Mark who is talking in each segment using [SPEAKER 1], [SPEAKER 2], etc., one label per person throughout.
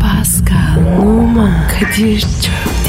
[SPEAKER 1] Pascal, Oman, Kadir çok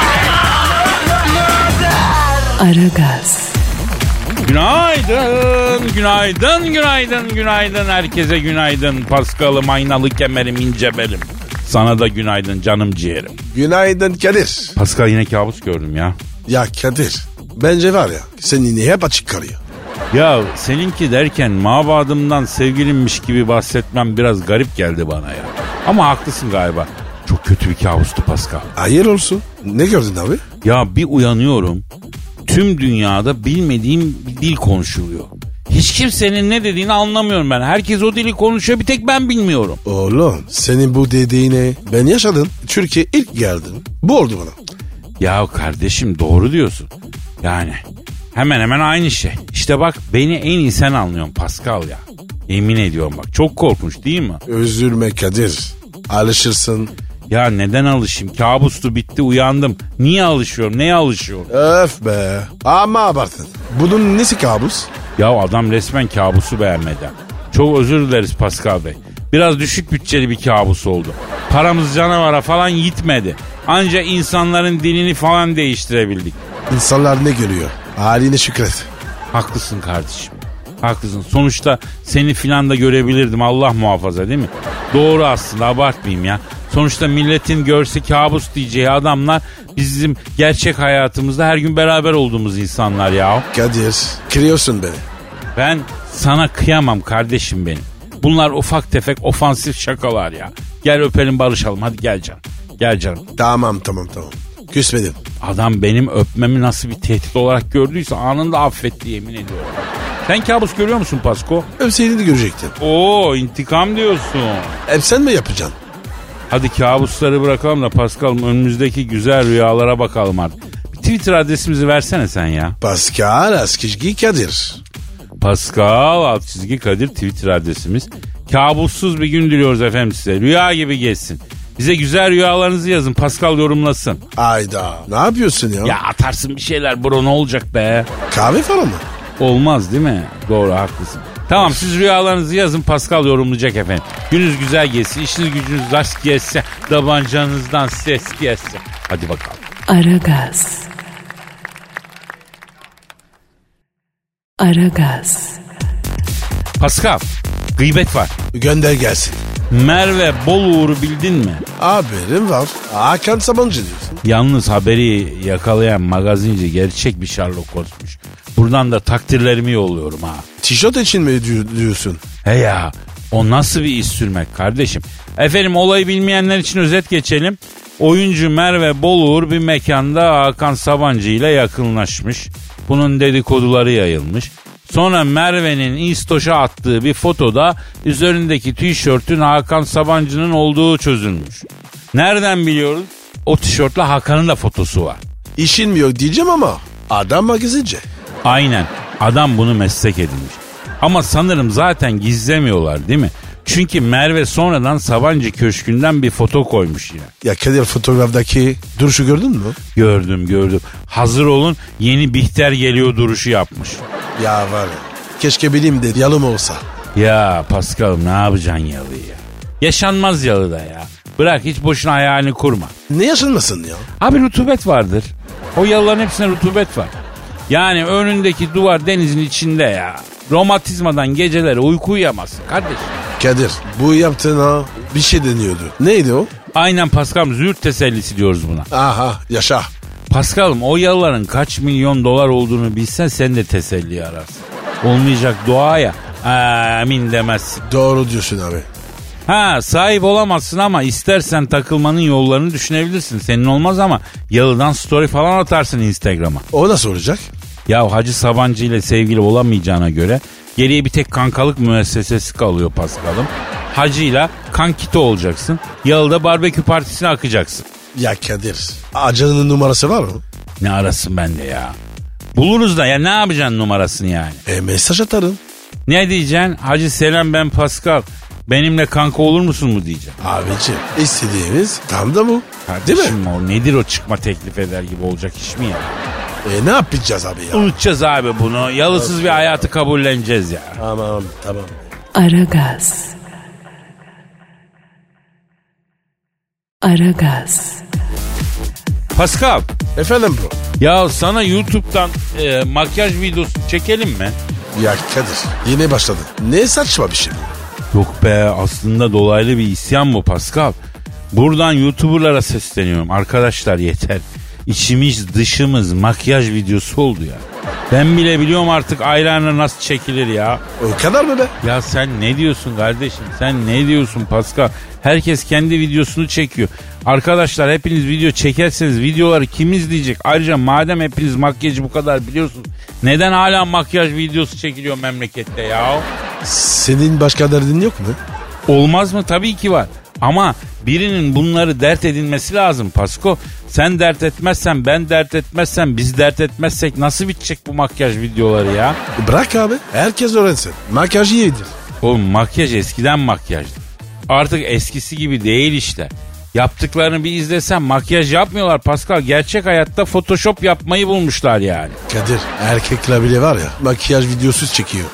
[SPEAKER 1] Aragaz,
[SPEAKER 2] Günaydın, günaydın, günaydın, günaydın. Herkese günaydın. Paskalı, aynalı kemerim, inceberim. Sana da günaydın canım ciğerim.
[SPEAKER 3] Günaydın Kadir.
[SPEAKER 2] Pascal yine kabus gördüm ya.
[SPEAKER 3] Ya Kadir. Bence var ya sen yine hep açık kalıyor.
[SPEAKER 2] Ya seninki derken mabadımdan sevgilimmiş gibi bahsetmem biraz garip geldi bana ya. Ama haklısın galiba. Çok kötü bir kabustu Pascal.
[SPEAKER 3] Hayır olsun. Ne gördün abi?
[SPEAKER 2] Ya bir uyanıyorum. Tüm dünyada bilmediğim bir dil konuşuluyor. Hiç kimsenin ne dediğini anlamıyorum ben. Herkes o dili konuşuyor bir tek ben bilmiyorum.
[SPEAKER 3] Oğlum senin bu dediğine ben yaşadım. Türkiye ilk geldim. Bu oldu bana.
[SPEAKER 2] Ya kardeşim doğru diyorsun. Yani hemen hemen aynı şey. İşte bak beni en iyi sen anlıyorsun Pascal ya. Yemin ediyorum bak çok korkunç değil mi?
[SPEAKER 3] Üzülme Kadir. Alışırsın.
[SPEAKER 2] Ya neden alışayım? Kabustu bitti uyandım. Niye alışıyorum? Neye alışıyorum?
[SPEAKER 3] Öf be. Ama abartın. Bunun nesi kabus?
[SPEAKER 2] Ya adam resmen kabusu beğenmedi. Çok özür dileriz Pascal Bey. Biraz düşük bütçeli bir kabus oldu. Paramız canavara falan gitmedi. Anca insanların dilini falan değiştirebildik.
[SPEAKER 3] İnsanlar ne görüyor? Haline şükret.
[SPEAKER 2] Haklısın kardeşim. Haklısın. Sonuçta seni filan da görebilirdim Allah muhafaza değil mi? Doğru aslında abartmayayım ya. Sonuçta milletin görse kabus diyeceği adamlar bizim gerçek hayatımızda her gün beraber olduğumuz insanlar ya.
[SPEAKER 3] Kadir. Kırıyorsun beni.
[SPEAKER 2] Ben sana kıyamam kardeşim benim. Bunlar ufak tefek ofansif şakalar ya. Gel öpelim barışalım hadi gel canım. Gel canım.
[SPEAKER 3] Tamam tamam tamam. Küsmedim.
[SPEAKER 2] Adam benim öpmemi nasıl bir tehdit olarak gördüyse anında affetti yemin ediyorum. Sen kabus görüyor musun Pasko?
[SPEAKER 3] Öpseydin de görecektin.
[SPEAKER 2] Oo intikam diyorsun.
[SPEAKER 3] Hep sen mi yapacaksın?
[SPEAKER 2] Hadi kabusları bırakalım da Paskal'ım önümüzdeki güzel rüyalara bakalım artık. Bir Twitter adresimizi versene sen ya.
[SPEAKER 3] Pascal Askizgi Kadir.
[SPEAKER 2] Pascal alt çizgi Kadir Twitter adresimiz. Kabussuz bir gün diliyoruz efendim size. Rüya gibi geçsin. Bize güzel rüyalarınızı yazın. Pascal yorumlasın.
[SPEAKER 3] Ayda. Ne yapıyorsun ya?
[SPEAKER 2] Ya atarsın bir şeyler bro ne olacak be?
[SPEAKER 3] Kahve falan mı?
[SPEAKER 2] Olmaz değil mi? Doğru haklısın. Tamam siz rüyalarınızı yazın Pascal yorumlayacak efendim. Gününüz güzel geçsin, işiniz gücünüz rast geçsin, davancanızdan ses geçsin. Hadi bakalım.
[SPEAKER 1] Aragaz. Aragaz,
[SPEAKER 2] Pascal, gıybet var.
[SPEAKER 3] Gönder gelsin.
[SPEAKER 2] Merve Boluğur'u bildin mi?
[SPEAKER 3] Haberim var. Hakan Sabancı diyorsun.
[SPEAKER 2] Yalnız haberi yakalayan magazinci gerçek bir Sherlock Holmes'muş. Buradan da takdirlerimi yolluyorum ha.
[SPEAKER 3] Tişört için mi diyor- diyorsun?
[SPEAKER 2] He ya o nasıl bir iş sürmek kardeşim? Efendim olayı bilmeyenler için özet geçelim. Oyuncu Merve Boluğur bir mekanda Hakan Sabancı ile yakınlaşmış. Bunun dedikoduları yayılmış. Sonra Merve'nin İstoş'a attığı bir fotoda üzerindeki tişörtün Hakan Sabancı'nın olduğu çözülmüş. Nereden biliyoruz? O tişörtle Hakan'ın da fotosu var.
[SPEAKER 3] İşin mi yok diyeceğim ama adam magazinci.
[SPEAKER 2] Aynen. Adam bunu meslek edinmiş. Ama sanırım zaten gizlemiyorlar değil mi? Çünkü Merve sonradan Sabancı Köşkü'nden bir foto koymuş yine.
[SPEAKER 3] Ya Kadir fotoğraftaki duruşu gördün mü?
[SPEAKER 2] Gördüm gördüm. Hazır olun yeni Bihter geliyor duruşu yapmış.
[SPEAKER 3] Ya var ya. Keşke bileyim de yalım olsa.
[SPEAKER 2] Ya Paskal'ım ne yapacaksın yalıyı ya? Yaşanmaz yalıda ya. Bırak hiç boşuna hayalini kurma.
[SPEAKER 3] Ne yaşanmasın ya?
[SPEAKER 2] Abi rutubet vardır. O yalıların hepsine rutubet var. Yani önündeki duvar denizin içinde ya. Romatizmadan geceleri uyku uyuyamazsın kardeşim.
[SPEAKER 3] Kadir bu yaptığına bir şey deniyordu. Neydi o?
[SPEAKER 2] Aynen Paskal'ım züğürt tesellisi diyoruz buna.
[SPEAKER 3] Aha yaşa.
[SPEAKER 2] Paskal'ım o yalıların kaç milyon dolar olduğunu bilsen sen de teselli ararsın. Olmayacak duaya amin demezsin.
[SPEAKER 3] Doğru diyorsun abi.
[SPEAKER 2] Ha sahip olamazsın ama istersen takılmanın yollarını düşünebilirsin. Senin olmaz ama yalıdan story falan atarsın Instagram'a.
[SPEAKER 3] O nasıl olacak?
[SPEAKER 2] Ya Hacı Sabancı ile sevgili olamayacağına göre geriye bir tek kankalık müessesesi kalıyor Paskal'ım. Hacı ile kankito olacaksın. Yalıda barbekü partisine akacaksın.
[SPEAKER 3] Ya Kadir. Acanın numarası var mı?
[SPEAKER 2] Ne arasın bende ya? Buluruz da ya ne yapacaksın numarasını yani?
[SPEAKER 3] E mesaj atarım.
[SPEAKER 2] Ne diyeceksin? Hacı Selam ben Pascal. Benimle kanka olur musun mu diyeceksin.
[SPEAKER 3] Abicim istediğimiz tam da bu. Değil mi?
[SPEAKER 2] Şimdi o nedir o çıkma teklif eder gibi olacak iş mi ya?
[SPEAKER 3] E ne yapacağız abi ya?
[SPEAKER 2] Unutacağız abi bunu. Yalısız bir hayatı kabulleneceğiz ya.
[SPEAKER 3] Tamam tamam.
[SPEAKER 1] Aragaz. Aragaz.
[SPEAKER 2] Pascal.
[SPEAKER 3] Efendim bro.
[SPEAKER 2] Ya sana YouTube'dan e, makyaj videosu çekelim mi?
[SPEAKER 3] Ya Kadir yine başladı. Ne saçma bir şey bu.
[SPEAKER 2] Yok be aslında dolaylı bir isyan bu Pascal. Buradan YouTuber'lara sesleniyorum. Arkadaşlar yeter. İçimiz dışımız makyaj videosu oldu ya. Ben bile biliyorum artık eyeliner nasıl çekilir ya.
[SPEAKER 3] O kadar mı be?
[SPEAKER 2] Ya sen ne diyorsun kardeşim? Sen ne diyorsun Pascal? Herkes kendi videosunu çekiyor. Arkadaşlar hepiniz video çekerseniz videoları kim izleyecek? Ayrıca madem hepiniz makyajı bu kadar biliyorsunuz. Neden hala makyaj videosu çekiliyor memlekette ya?
[SPEAKER 3] Senin başka derdin yok mu?
[SPEAKER 2] Olmaz mı? Tabii ki var. Ama birinin bunları dert edinmesi lazım Pasko. Sen dert etmezsen, ben dert etmezsem, biz dert etmezsek nasıl bitecek bu makyaj videoları ya?
[SPEAKER 3] E, Bırak abi. Herkes öğrensin. Makyaj iyidir.
[SPEAKER 2] Oğlum makyaj eskiden makyajdı. Artık eskisi gibi değil işte. Yaptıklarını bir izlesen makyaj yapmıyorlar Pascal. Gerçek hayatta Photoshop yapmayı bulmuşlar yani.
[SPEAKER 3] Kadir erkekler bile var ya makyaj videosuz çekiyor.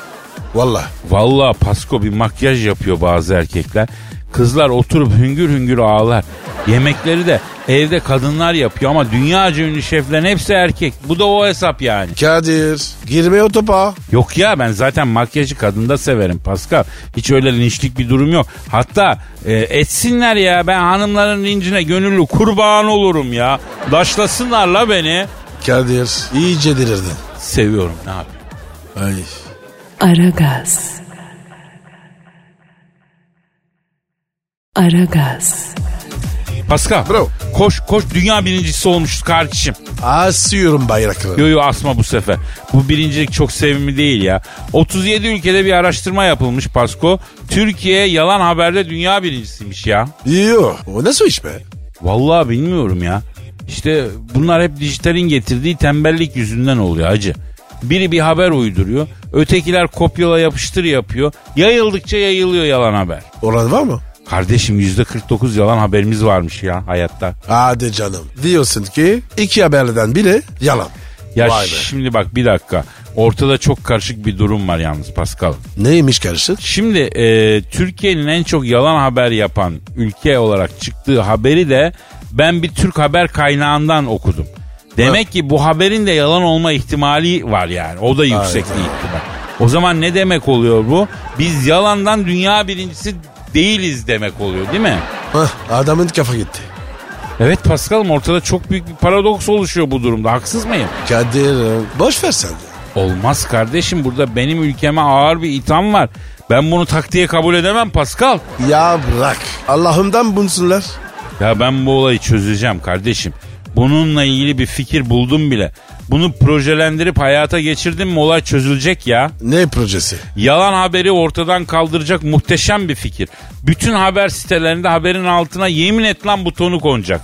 [SPEAKER 3] Valla.
[SPEAKER 2] Vallahi Pasko bir makyaj yapıyor bazı erkekler. Kızlar oturup hüngür hüngür ağlar. Yemekleri de evde kadınlar yapıyor ama dünyaca ünlü şeflerin hepsi erkek. Bu da o hesap yani.
[SPEAKER 3] Kadir girme o topa.
[SPEAKER 2] Yok ya ben zaten makyajı kadında severim Pascal. Hiç öyle linçlik bir durum yok. Hatta e, etsinler ya ben hanımların lincine gönüllü kurban olurum ya. Daşlasınlar la beni.
[SPEAKER 3] Kadir iyice delirdin.
[SPEAKER 2] Seviyorum ne yapayım.
[SPEAKER 3] Ay.
[SPEAKER 1] Aragaz. Aragaz.
[SPEAKER 2] Pascal
[SPEAKER 3] Bro.
[SPEAKER 2] koş koş dünya birincisi olmuşuz kardeşim.
[SPEAKER 3] Asıyorum bayrakları.
[SPEAKER 2] Yo yo asma bu sefer. Bu birincilik çok sevimli değil ya. 37 ülkede bir araştırma yapılmış Pasko. Türkiye yalan haberde dünya birincisiymiş ya.
[SPEAKER 3] Yo. O nasıl iş be?
[SPEAKER 2] Vallahi bilmiyorum ya. İşte bunlar hep dijitalin getirdiği tembellik yüzünden oluyor acı. Biri bir haber uyduruyor. Ötekiler kopyala yapıştır yapıyor. Yayıldıkça yayılıyor yalan haber.
[SPEAKER 3] Oran var mı?
[SPEAKER 2] Kardeşim %49 yalan haberimiz varmış ya hayatta.
[SPEAKER 3] Hadi canım. Diyorsun ki iki haberden biri yalan.
[SPEAKER 2] Ya
[SPEAKER 3] Vay be.
[SPEAKER 2] şimdi bak bir dakika. Ortada çok karışık bir durum var yalnız Pascal.
[SPEAKER 3] Neymiş karışık?
[SPEAKER 2] Şimdi e, Türkiye'nin en çok yalan haber yapan ülke olarak çıktığı haberi de ben bir Türk haber kaynağından okudum. Demek ki bu haberin de yalan olma ihtimali var yani. O da yüksek bir ihtimal. O zaman ne demek oluyor bu? Biz yalandan dünya birincisi değiliz demek oluyor değil mi?
[SPEAKER 3] Hah, adamın kafa gitti.
[SPEAKER 2] Evet Paskal'ım ortada çok büyük bir paradoks oluşuyor bu durumda. Haksız mıyım?
[SPEAKER 3] Kadir boş ver sen. de.
[SPEAKER 2] Olmaz kardeşim burada benim ülkeme ağır bir itham var. Ben bunu taktiğe kabul edemem Paskal.
[SPEAKER 3] Ya bırak. Allah'ımdan bunsunlar.
[SPEAKER 2] Ya ben bu olayı çözeceğim kardeşim. Bununla ilgili bir fikir buldum bile. Bunu projelendirip hayata geçirdim mi olay çözülecek ya.
[SPEAKER 3] Ne projesi?
[SPEAKER 2] Yalan haberi ortadan kaldıracak muhteşem bir fikir. Bütün haber sitelerinde haberin altına yemin et lan butonu konacak.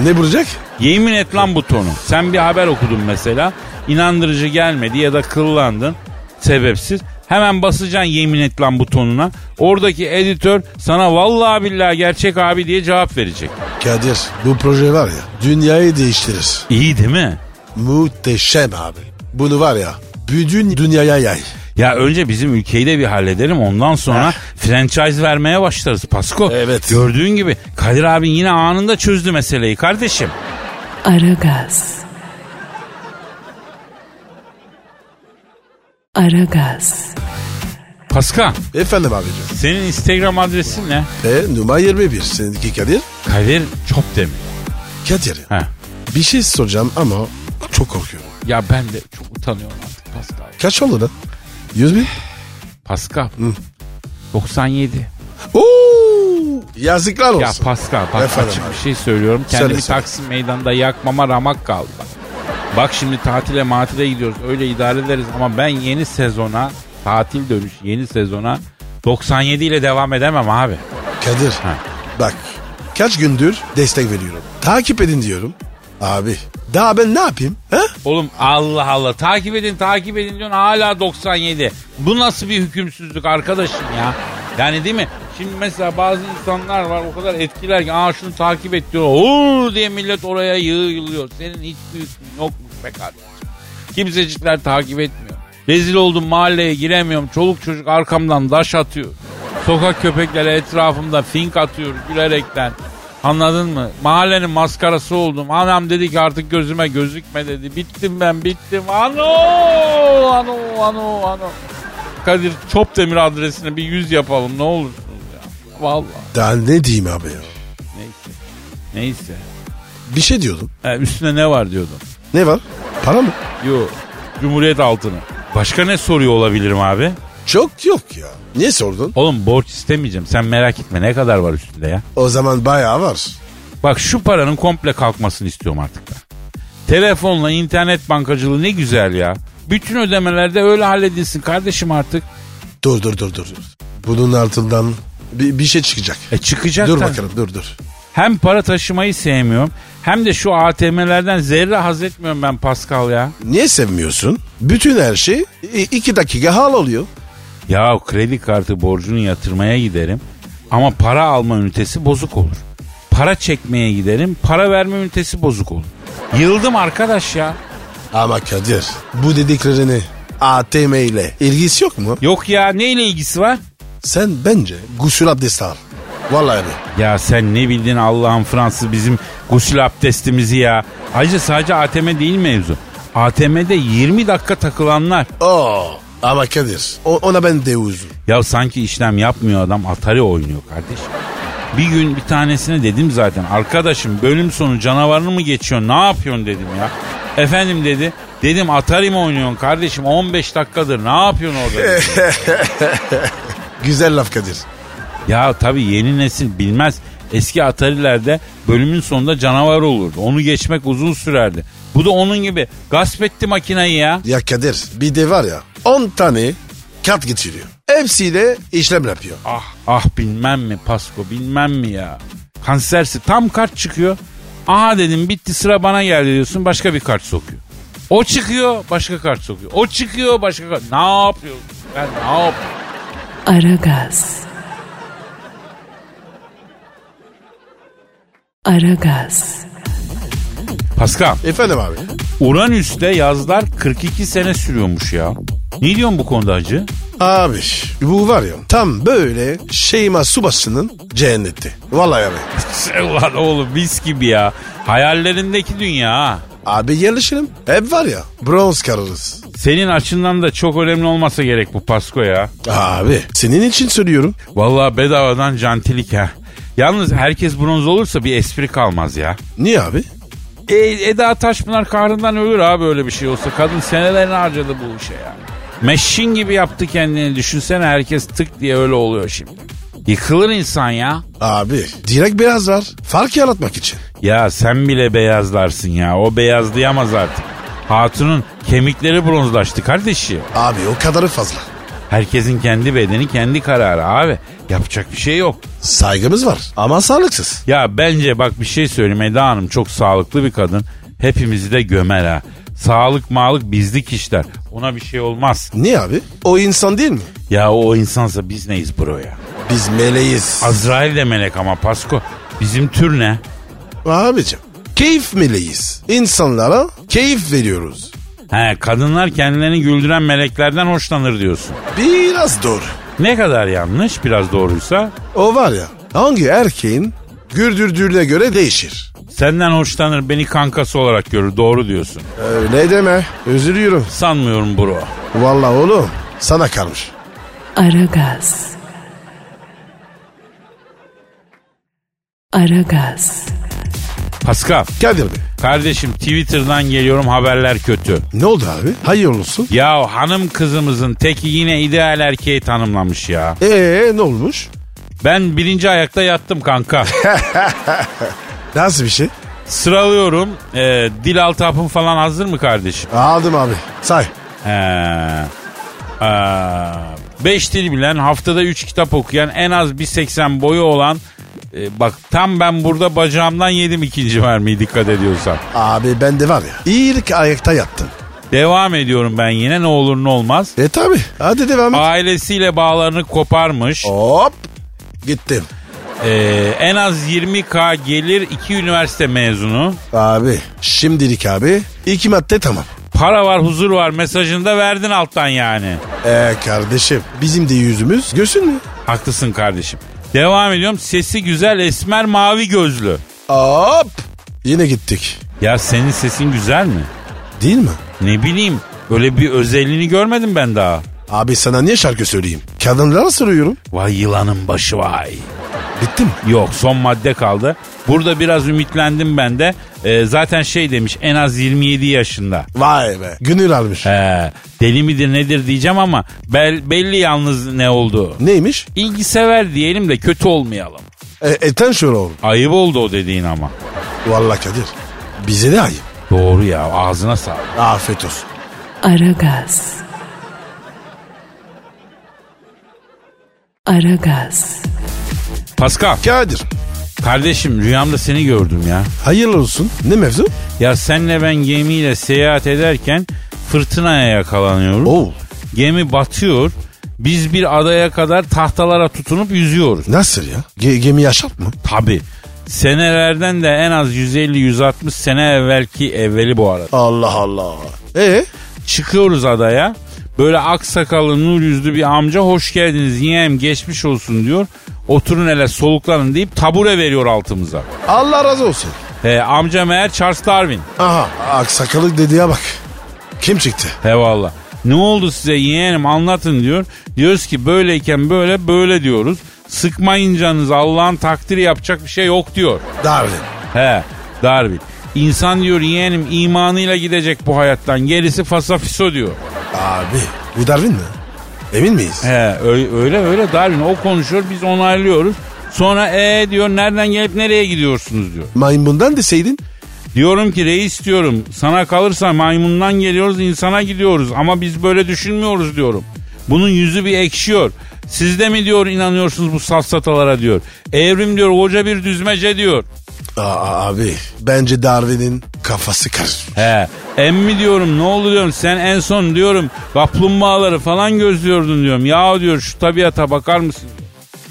[SPEAKER 3] ne bulacak?
[SPEAKER 2] Yemin et lan butonu. Sen bir haber okudun mesela. inandırıcı gelmedi ya da kıllandın. Sebepsiz. Hemen basacaksın yemin et lan butonuna. Oradaki editör sana vallahi billahi gerçek abi diye cevap verecek.
[SPEAKER 3] Kadir bu proje var ya dünyayı değiştirir.
[SPEAKER 2] İyi değil mi?
[SPEAKER 3] Muhteşem abi. Bunu var ya bütün dünyaya yay.
[SPEAKER 2] Ya önce bizim ülkeyi de bir halledelim ondan sonra franchise vermeye başlarız Pasko.
[SPEAKER 3] Evet.
[SPEAKER 2] Gördüğün gibi Kadir abin yine anında çözdü meseleyi kardeşim.
[SPEAKER 1] Aragaz. Aragaz.
[SPEAKER 2] Paska
[SPEAKER 3] Efendim abicim.
[SPEAKER 2] senin Instagram adresin ne?
[SPEAKER 3] E, numara 21 seninki Kadir.
[SPEAKER 2] Kadir Çopdemir.
[SPEAKER 3] Kadir
[SPEAKER 2] Ha.
[SPEAKER 3] bir şey soracağım ama çok korkuyorum.
[SPEAKER 2] Ya ben de çok utanıyorum artık Pascal.
[SPEAKER 3] Kaç oldu lan? 100 bin?
[SPEAKER 2] Pascal. 97.
[SPEAKER 3] Oo, yazıklar olsun.
[SPEAKER 2] Ya Pascal bak
[SPEAKER 3] Efendim
[SPEAKER 2] açık
[SPEAKER 3] abi.
[SPEAKER 2] bir şey söylüyorum. Kendimi
[SPEAKER 3] Söyle, söyle.
[SPEAKER 2] Taksim meydanında yakmama ramak kaldı. Bak. Bak şimdi tatile matile gidiyoruz. Öyle idare ederiz ama ben yeni sezona tatil dönüş yeni sezona 97 ile devam edemem abi.
[SPEAKER 3] Kadir
[SPEAKER 2] Ha.
[SPEAKER 3] bak Kaç gündür destek veriyorum. Takip edin diyorum. Abi daha ben ne yapayım? Ha?
[SPEAKER 2] Oğlum Allah Allah takip edin takip edin diyorsun hala 97. Bu nasıl bir hükümsüzlük arkadaşım ya? Yani değil mi? Şimdi mesela bazı insanlar var o kadar etkiler ki aa şunu takip et diyor. Oo diye millet oraya yığılıyor. Senin hiç büyüsün yok mu be kardeşim? Kimsecikler takip etmiyor. Rezil oldum mahalleye giremiyorum. Çoluk çocuk arkamdan daş atıyor. Sokak köpekleri etrafımda fink atıyor gülerekten. Anladın mı? Mahallenin maskarası oldum. Anam dedi ki artık gözüme gözükme dedi. Bittim ben bittim. Ano! Ano! Ano! Ano! Kadir Çopdemir adresine bir yüz yapalım ne olursunuz ya. Vallahi
[SPEAKER 3] Daha ne diyeyim abi ya?
[SPEAKER 2] neyse. Neyse.
[SPEAKER 3] Bir şey diyordum.
[SPEAKER 2] E, üstüne ne var diyordum.
[SPEAKER 3] Ne var? Para mı?
[SPEAKER 2] Yo. Cumhuriyet altını. Başka ne soruyor olabilirim abi?
[SPEAKER 3] Çok yok ya. Niye sordun?
[SPEAKER 2] Oğlum borç istemeyeceğim. Sen merak etme ne kadar var üstünde ya.
[SPEAKER 3] O zaman bayağı var.
[SPEAKER 2] Bak şu paranın komple kalkmasını istiyorum artık ben. Telefonla internet bankacılığı ne güzel ya. Bütün ödemelerde öyle halledilsin kardeşim artık.
[SPEAKER 3] Dur dur dur dur. dur. Bunun altından bir, bir şey çıkacak.
[SPEAKER 2] E çıkacak
[SPEAKER 3] Dur
[SPEAKER 2] tabii.
[SPEAKER 3] bakalım dur dur.
[SPEAKER 2] Hem para taşımayı sevmiyorum hem de şu ATM'lerden zerre haz etmiyorum ben Pascal ya.
[SPEAKER 3] Niye sevmiyorsun? Bütün her şey i- iki dakika hal oluyor.
[SPEAKER 2] Ya kredi kartı borcunu yatırmaya giderim ama para alma ünitesi bozuk olur. Para çekmeye giderim, para verme ünitesi bozuk olur. Yıldım arkadaş ya.
[SPEAKER 3] Ama Kadir bu dediklerini ATM ile ilgisi yok mu?
[SPEAKER 2] Yok ya neyle ilgisi var?
[SPEAKER 3] Sen bence gusül abdesti al. Vallahi abi.
[SPEAKER 2] Ya sen ne bildin Allah'ın Fransız bizim gusül abdestimizi ya. Ayrıca sadece ATM değil mevzu. ATM'de 20 dakika takılanlar.
[SPEAKER 3] Oo, ama Kadir o- ona ben de uzun.
[SPEAKER 2] Ya sanki işlem yapmıyor adam Atari oynuyor kardeş. Bir gün bir tanesine dedim zaten arkadaşım bölüm sonu canavarını mı geçiyorsun ne yapıyorsun dedim ya. Efendim dedi. Dedim Atari mi oynuyorsun kardeşim 15 dakikadır ne yapıyorsun orada? dedi.
[SPEAKER 3] Güzel laf Kadir.
[SPEAKER 2] Ya tabii yeni nesil bilmez. Eski Atari'lerde bölümün sonunda canavar olurdu. Onu geçmek uzun sürerdi. Bu da onun gibi. Gasp etti makineyi ya.
[SPEAKER 3] Ya Kadir bir de var ya 10 tane kat getiriyor. Hepsiyle işlem yapıyor.
[SPEAKER 2] Ah ah bilmem mi Pasko bilmem mi ya. Kansersi tam kart çıkıyor. Aha dedim bitti sıra bana geldi diyorsun başka bir kart sokuyor. O çıkıyor başka kart sokuyor. O çıkıyor başka kart. Ne yapıyorsun? Ben ne yapıyorum?
[SPEAKER 1] Aragaz. Aragaz.
[SPEAKER 2] Pascal,
[SPEAKER 3] Efendim abi.
[SPEAKER 2] Uranüs'te yazlar 42 sene sürüyormuş ya. Ne diyorsun bu konuda hacı?
[SPEAKER 3] Abi bu var ya tam böyle Şeyma Subaşı'nın cehenneti. Vallahi abi.
[SPEAKER 2] Ulan oğlum mis gibi ya. Hayallerindeki dünya ha.
[SPEAKER 3] Abi yerleşelim. Hep var ya bronz kararız.
[SPEAKER 2] Senin açından da çok önemli olmasa gerek bu Pasko ya.
[SPEAKER 3] Abi senin için söylüyorum.
[SPEAKER 2] Vallahi bedavadan cantilik ha. Yalnız herkes bronz olursa bir espri kalmaz ya.
[SPEAKER 3] Niye abi?
[SPEAKER 2] E, Eda Taşpınar kahrından ölür abi öyle bir şey olsa. Kadın senelerini harcadı bu işe ya. Meşin gibi yaptı kendini. Düşünsene herkes tık diye öyle oluyor şimdi. Yıkılır insan ya.
[SPEAKER 3] Abi direkt beyaz var. Fark yaratmak için.
[SPEAKER 2] Ya sen bile beyazlarsın ya. O beyazlayamaz artık. Hatunun kemikleri bronzlaştı kardeşim.
[SPEAKER 3] Abi o kadarı fazla.
[SPEAKER 2] Herkesin kendi bedeni kendi kararı abi. Yapacak bir şey yok.
[SPEAKER 3] Saygımız var ama sağlıksız.
[SPEAKER 2] Ya bence bak bir şey söyleyeyim Eda Hanım çok sağlıklı bir kadın. Hepimizi de gömer ha. Sağlık mağlık bizlik işler. Ona bir şey olmaz.
[SPEAKER 3] Niye abi? O insan değil mi?
[SPEAKER 2] Ya o insansa biz neyiz bro ya?
[SPEAKER 3] Biz meleğiz.
[SPEAKER 2] Azrail de melek ama Pasko. Bizim tür ne?
[SPEAKER 3] Abicim keyif meleğiz. İnsanlara keyif veriyoruz.
[SPEAKER 2] He kadınlar kendilerini güldüren meleklerden hoşlanır diyorsun.
[SPEAKER 3] Biraz doğru.
[SPEAKER 2] Ne kadar yanlış biraz doğruysa
[SPEAKER 3] O var ya hangi erkeğin gürdürdüğüne göre değişir.
[SPEAKER 2] senden hoşlanır beni kankası olarak görür doğru diyorsun.
[SPEAKER 3] Öyle deme. Üzülüyorum.
[SPEAKER 2] Sanmıyorum bro.
[SPEAKER 3] Vallahi oğlum sana kalmış.
[SPEAKER 1] Aragaz. Aragaz.
[SPEAKER 2] Pascal
[SPEAKER 3] Kadir Bey.
[SPEAKER 2] kardeşim Twitter'dan geliyorum haberler kötü.
[SPEAKER 3] Ne oldu abi? Hayır olsun.
[SPEAKER 2] Ya hanım kızımızın teki yine ideal erkeği tanımlamış ya.
[SPEAKER 3] Ee ne olmuş?
[SPEAKER 2] Ben birinci ayakta yattım kanka.
[SPEAKER 3] Nasıl bir şey?
[SPEAKER 2] Sıralıyorum. Ee, dil altı hapın falan hazır mı kardeşim?
[SPEAKER 3] Aldım abi. Say.
[SPEAKER 2] Ee, ee, beş dil bilen, haftada üç kitap okuyan, en az bir 80 boyu olan E, bak tam ben burada bacağımdan yedim ikinci mermiyi dikkat ediyorsan.
[SPEAKER 3] Abi ben de var ya. İlk ayakta yattım.
[SPEAKER 2] Devam ediyorum ben yine ne olur ne olmaz.
[SPEAKER 3] E tabi. Hadi devam et.
[SPEAKER 2] Ailesiyle bağlarını koparmış.
[SPEAKER 3] Hop. Gittim.
[SPEAKER 2] E, en az 20k gelir iki üniversite mezunu.
[SPEAKER 3] Abi şimdilik abi. iki madde tamam.
[SPEAKER 2] Para var huzur var mesajını da verdin alttan yani.
[SPEAKER 3] E kardeşim bizim de yüzümüz görsün mü?
[SPEAKER 2] Haklısın kardeşim. Devam ediyorum sesi güzel esmer mavi gözlü.
[SPEAKER 3] Hop. Yine gittik.
[SPEAKER 2] Ya senin sesin güzel mi?
[SPEAKER 3] Değil mi?
[SPEAKER 2] Ne bileyim böyle bir özelliğini görmedim ben daha.
[SPEAKER 3] Abi sana niye şarkı söyleyeyim? Kadınlara soruyorum.
[SPEAKER 2] Vay yılanın başı vay.
[SPEAKER 3] Bitti mi?
[SPEAKER 2] Yok son madde kaldı. Burada biraz ümitlendim ben de. Ee, zaten şey demiş en az 27 yaşında.
[SPEAKER 3] Vay be. Gönül almış.
[SPEAKER 2] He, deli midir nedir diyeceğim ama bel- belli yalnız ne oldu.
[SPEAKER 3] Neymiş?
[SPEAKER 2] İlgisever diyelim de kötü olmayalım.
[SPEAKER 3] E, eten şöyle oğlum.
[SPEAKER 2] Ayıp oldu o dediğin ama.
[SPEAKER 3] Vallahi Kadir. Bize de ayıp.
[SPEAKER 2] Doğru ya ağzına sağlık.
[SPEAKER 3] Afiyet olsun.
[SPEAKER 1] Aragaz. Aragaz.
[SPEAKER 2] Pascal
[SPEAKER 3] Kadir.
[SPEAKER 2] kardeşim rüyamda seni gördüm ya.
[SPEAKER 3] Hayırlı olsun. Ne mevzu?
[SPEAKER 2] Ya senle ben gemiyle seyahat ederken fırtınaya yakalanıyoruz.
[SPEAKER 3] Oo.
[SPEAKER 2] Gemi batıyor. Biz bir adaya kadar tahtalara tutunup yüzüyoruz.
[SPEAKER 3] Nasıl ya? Ge- gemi yaşat mı?
[SPEAKER 2] Tabi. Senelerden de en az 150-160 sene evvelki evveli bu arada.
[SPEAKER 3] Allah Allah. E
[SPEAKER 2] Çıkıyoruz adaya. Böyle aksakallı nur yüzlü bir amca hoş geldiniz yeğem geçmiş olsun diyor. Oturun hele soluklanın deyip tabure veriyor altımıza.
[SPEAKER 3] Allah razı olsun.
[SPEAKER 2] He, amca meğer Charles Darwin.
[SPEAKER 3] Aha aksakalık dediğe bak. Kim çıktı?
[SPEAKER 2] Eyvallah. Ne oldu size yeğenim anlatın diyor. Diyoruz ki böyleyken böyle böyle diyoruz. Sıkmayın canınızı Allah'ın takdiri yapacak bir şey yok diyor.
[SPEAKER 3] Darwin.
[SPEAKER 2] He Darwin. İnsan diyor yeğenim imanıyla gidecek bu hayattan. Gerisi fasafiso diyor.
[SPEAKER 3] Abi bu Darwin mi? Emin miyiz?
[SPEAKER 2] He öyle öyle, öyle Darwin o konuşuyor biz onaylıyoruz. Sonra e ee, diyor nereden gelip nereye gidiyorsunuz diyor.
[SPEAKER 3] Maymundan deseydin.
[SPEAKER 2] Diyorum ki reis diyorum sana kalırsa maymundan geliyoruz insana gidiyoruz ama biz böyle düşünmüyoruz diyorum. Bunun yüzü bir ekşiyor. Siz de mi diyor inanıyorsunuz bu safsatalara diyor. Evrim diyor koca bir düzmece diyor.
[SPEAKER 3] Aa, abi bence Darwin'in kafası karışır.
[SPEAKER 2] He emmi diyorum ne oldu diyorum sen en son diyorum kaplumbağaları falan gözlüyordun diyorum. Ya diyor şu tabiata bakar mısın?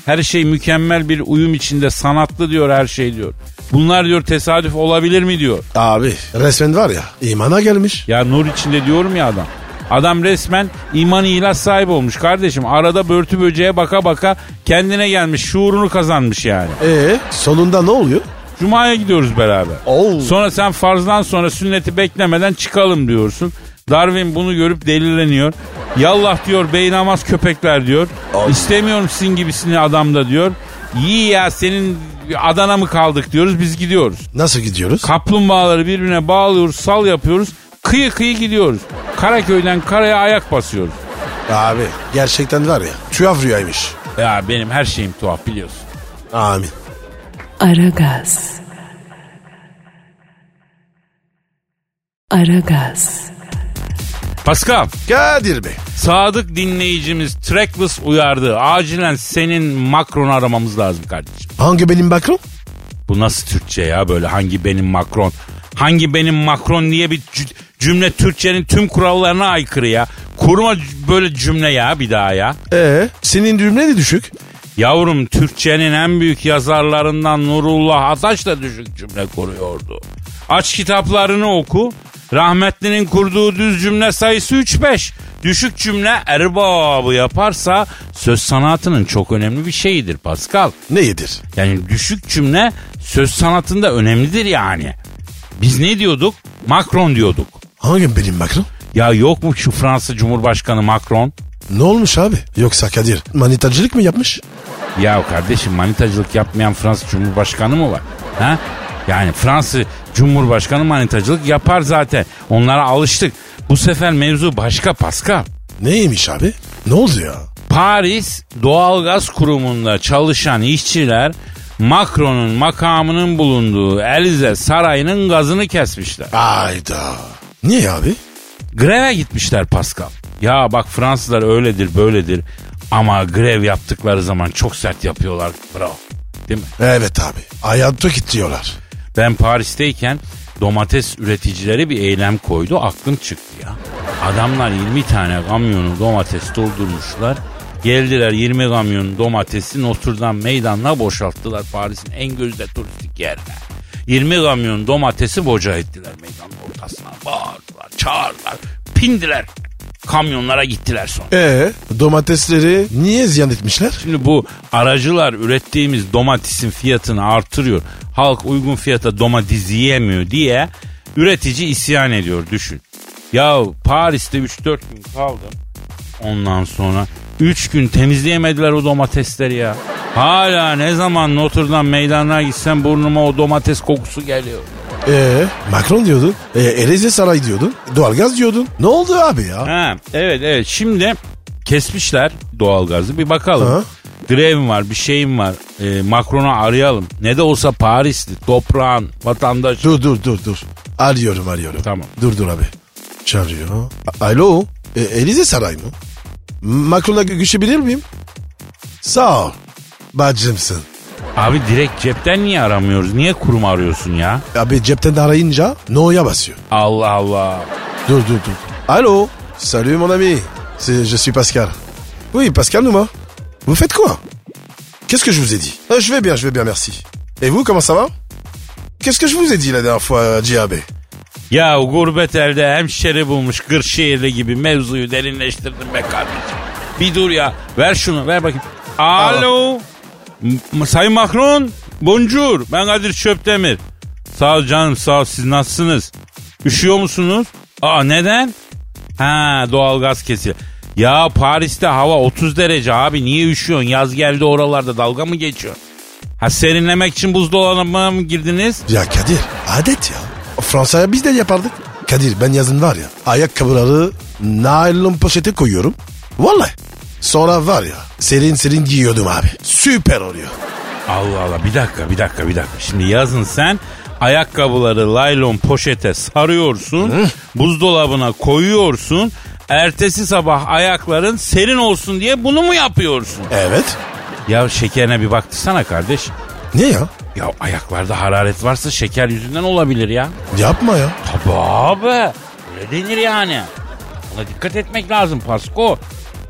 [SPEAKER 2] Her şey mükemmel bir uyum içinde sanatlı diyor her şey diyor. Bunlar diyor tesadüf olabilir mi diyor.
[SPEAKER 3] Abi resmen var ya imana gelmiş.
[SPEAKER 2] Ya nur içinde diyorum ya adam. Adam resmen iman ilah sahibi olmuş kardeşim. Arada börtü böceğe baka baka kendine gelmiş şuurunu kazanmış yani.
[SPEAKER 3] E sonunda ne oluyor?
[SPEAKER 2] Cuma'ya gidiyoruz beraber.
[SPEAKER 3] Oo.
[SPEAKER 2] Sonra sen farzdan sonra sünneti beklemeden çıkalım diyorsun. Darwin bunu görüp delileniyor. Yallah diyor bey namaz köpekler diyor. İstemiyorum sizin gibisini adamda diyor. İyi ya senin Adana mı kaldık diyoruz biz gidiyoruz.
[SPEAKER 3] Nasıl gidiyoruz?
[SPEAKER 2] Kaplumbağaları birbirine bağlıyoruz, sal yapıyoruz. Kıyı kıyı gidiyoruz. Karaköy'den karaya ayak basıyoruz.
[SPEAKER 3] Abi gerçekten var ya tuhaf rüyaymış.
[SPEAKER 2] Ya benim her şeyim tuhaf biliyorsun.
[SPEAKER 3] Amin.
[SPEAKER 1] Aragaz. Aragaz.
[SPEAKER 2] Pascal,
[SPEAKER 3] Kadir Bey.
[SPEAKER 2] sadık dinleyicimiz Trackless uyardı. Acilen senin Macron'u aramamız lazım kardeşim.
[SPEAKER 3] Hangi benim bakrom?
[SPEAKER 2] Bu nasıl Türkçe ya böyle hangi benim Macron? Hangi benim Macron diye bir cü- cümle Türkçenin tüm kurallarına aykırı ya. Kurma c- böyle cümle ya bir daha ya.
[SPEAKER 3] Ee, senin düğümle ne düşük?
[SPEAKER 2] Yavrum Türkçenin en büyük yazarlarından Nurullah Ataş da düşük cümle kuruyordu. Aç kitaplarını oku. Rahmetli'nin kurduğu düz cümle sayısı 3-5. Düşük cümle erbabı yaparsa söz sanatının çok önemli bir şeyidir Pascal.
[SPEAKER 3] Ne yedir?
[SPEAKER 2] Yani düşük cümle söz sanatında önemlidir yani. Biz ne diyorduk? Macron diyorduk.
[SPEAKER 3] Hangi benim bakrom?
[SPEAKER 2] Ya yok mu şu Fransa Cumhurbaşkanı Macron?
[SPEAKER 3] Ne olmuş abi? Yoksa Kadir manitacılık mı yapmış?
[SPEAKER 2] Ya kardeşim manitacılık yapmayan Fransız Cumhurbaşkanı mı var? Ha? Yani Fransız Cumhurbaşkanı manitacılık yapar zaten. Onlara alıştık. Bu sefer mevzu başka Pascal.
[SPEAKER 3] Neymiş abi? Ne oldu ya?
[SPEAKER 2] Paris Doğalgaz Kurumu'nda çalışan işçiler Macron'un makamının bulunduğu Elize Sarayı'nın gazını kesmişler.
[SPEAKER 3] Ayda. Niye abi?
[SPEAKER 2] Greve gitmişler Pascal. Ya bak Fransızlar öyledir böyledir ama grev yaptıkları zaman çok sert yapıyorlar. Bravo. değil mi?
[SPEAKER 3] Evet abi. Hayatta git diyorlar.
[SPEAKER 2] Ben Paris'teyken domates üreticileri bir eylem koydu. Aklım çıktı ya. Adamlar 20 tane kamyonu domates doldurmuşlar. Geldiler 20 kamyon domatesi Notre Dame meydanına boşalttılar Paris'in en gözde turistik yerine. 20 kamyon domatesi boca ettiler meydanın ortasına. Bağırdılar, çağırdılar, pindiler. Kamyonlara gittiler sonra.
[SPEAKER 3] Ee domatesleri niye ziyan etmişler?
[SPEAKER 2] Şimdi bu aracılar ürettiğimiz domatesin fiyatını artırıyor. Halk uygun fiyata domates yiyemiyor diye üretici isyan ediyor düşün. Ya Paris'te 3-4 gün kaldım. Ondan sonra 3 gün temizleyemediler o domatesleri ya. Hala ne zaman Notre Dame meydanına gitsem burnuma o domates kokusu geliyor.
[SPEAKER 3] Ee Macron diyordun. Ee, Elezle Saray diyordun. Doğalgaz diyordun. Ne oldu abi ya?
[SPEAKER 2] Ha, evet evet şimdi kesmişler doğalgazı bir bakalım.
[SPEAKER 3] Hı.
[SPEAKER 2] Grevim var bir şeyim var Ee, Macron'u arayalım. Ne de olsa Paris'ti toprağın vatandaş.
[SPEAKER 3] Dur dur dur dur. Arıyorum arıyorum.
[SPEAKER 2] Tamam.
[SPEAKER 3] Dur dur abi. Çağırıyor. A- Alo. E, Elize Saray mı? Macron'la gö- görüşebilir miyim? Sağ ol. Bacımsın.
[SPEAKER 2] Abi direkt cepten niye aramıyoruz niye kurum arıyorsun ya?
[SPEAKER 3] Abi cepten de arayınca no'ya basıyor.
[SPEAKER 2] Allah Allah.
[SPEAKER 3] Dur dur dur. Allô Salut mon ami. C'est- je suis Pascal. Oui, Pascal Numa. Vous faites quoi Qu'est-ce que je vous ai dit Ah, Je vais bien, je vais bien, merci. Et vous, comment ça va Qu'est-ce que je vous ai dit la dernière fois, euh, Djihabé
[SPEAKER 2] Ya gurbet elde hemşeri bulmuş Kırşehirli gibi mevzuyu derinleştirdin be kardeşim. Bir dur ya ver şunu ver bakayım. Alo. M- Sayın Macron. Bonjour. Ben Kadir Çöptemir. Sağ ol canım sağ ol. Siz nasılsınız? Üşüyor musunuz? Aa neden? Ha doğalgaz kesiyor. Ya Paris'te hava 30 derece abi niye üşüyorsun? Yaz geldi oralarda dalga mı geçiyor? Ha serinlemek için buzdolabına mı girdiniz?
[SPEAKER 3] Ya Kadir, adet ya. Fransa'ya biz de yapardık. Kadir, ben yazın var ya, ayakkabıları naylon poşete koyuyorum. Vallahi. Sonra var ya, serin serin giyiyordum abi. Süper oluyor.
[SPEAKER 2] Allah Allah bir dakika bir dakika bir dakika. Şimdi yazın sen ayakkabıları laylon poşete sarıyorsun. Buzdolabına koyuyorsun. Ertesi sabah ayakların serin olsun diye bunu mu yapıyorsun?
[SPEAKER 3] Evet.
[SPEAKER 2] Ya şekerine bir baktırsana kardeş.
[SPEAKER 3] Ne ya?
[SPEAKER 2] Ya ayaklarda hararet varsa şeker yüzünden olabilir ya.
[SPEAKER 3] Yapma ya.
[SPEAKER 2] Tabii abi. Öyle denir yani. Ona dikkat etmek lazım Pasko.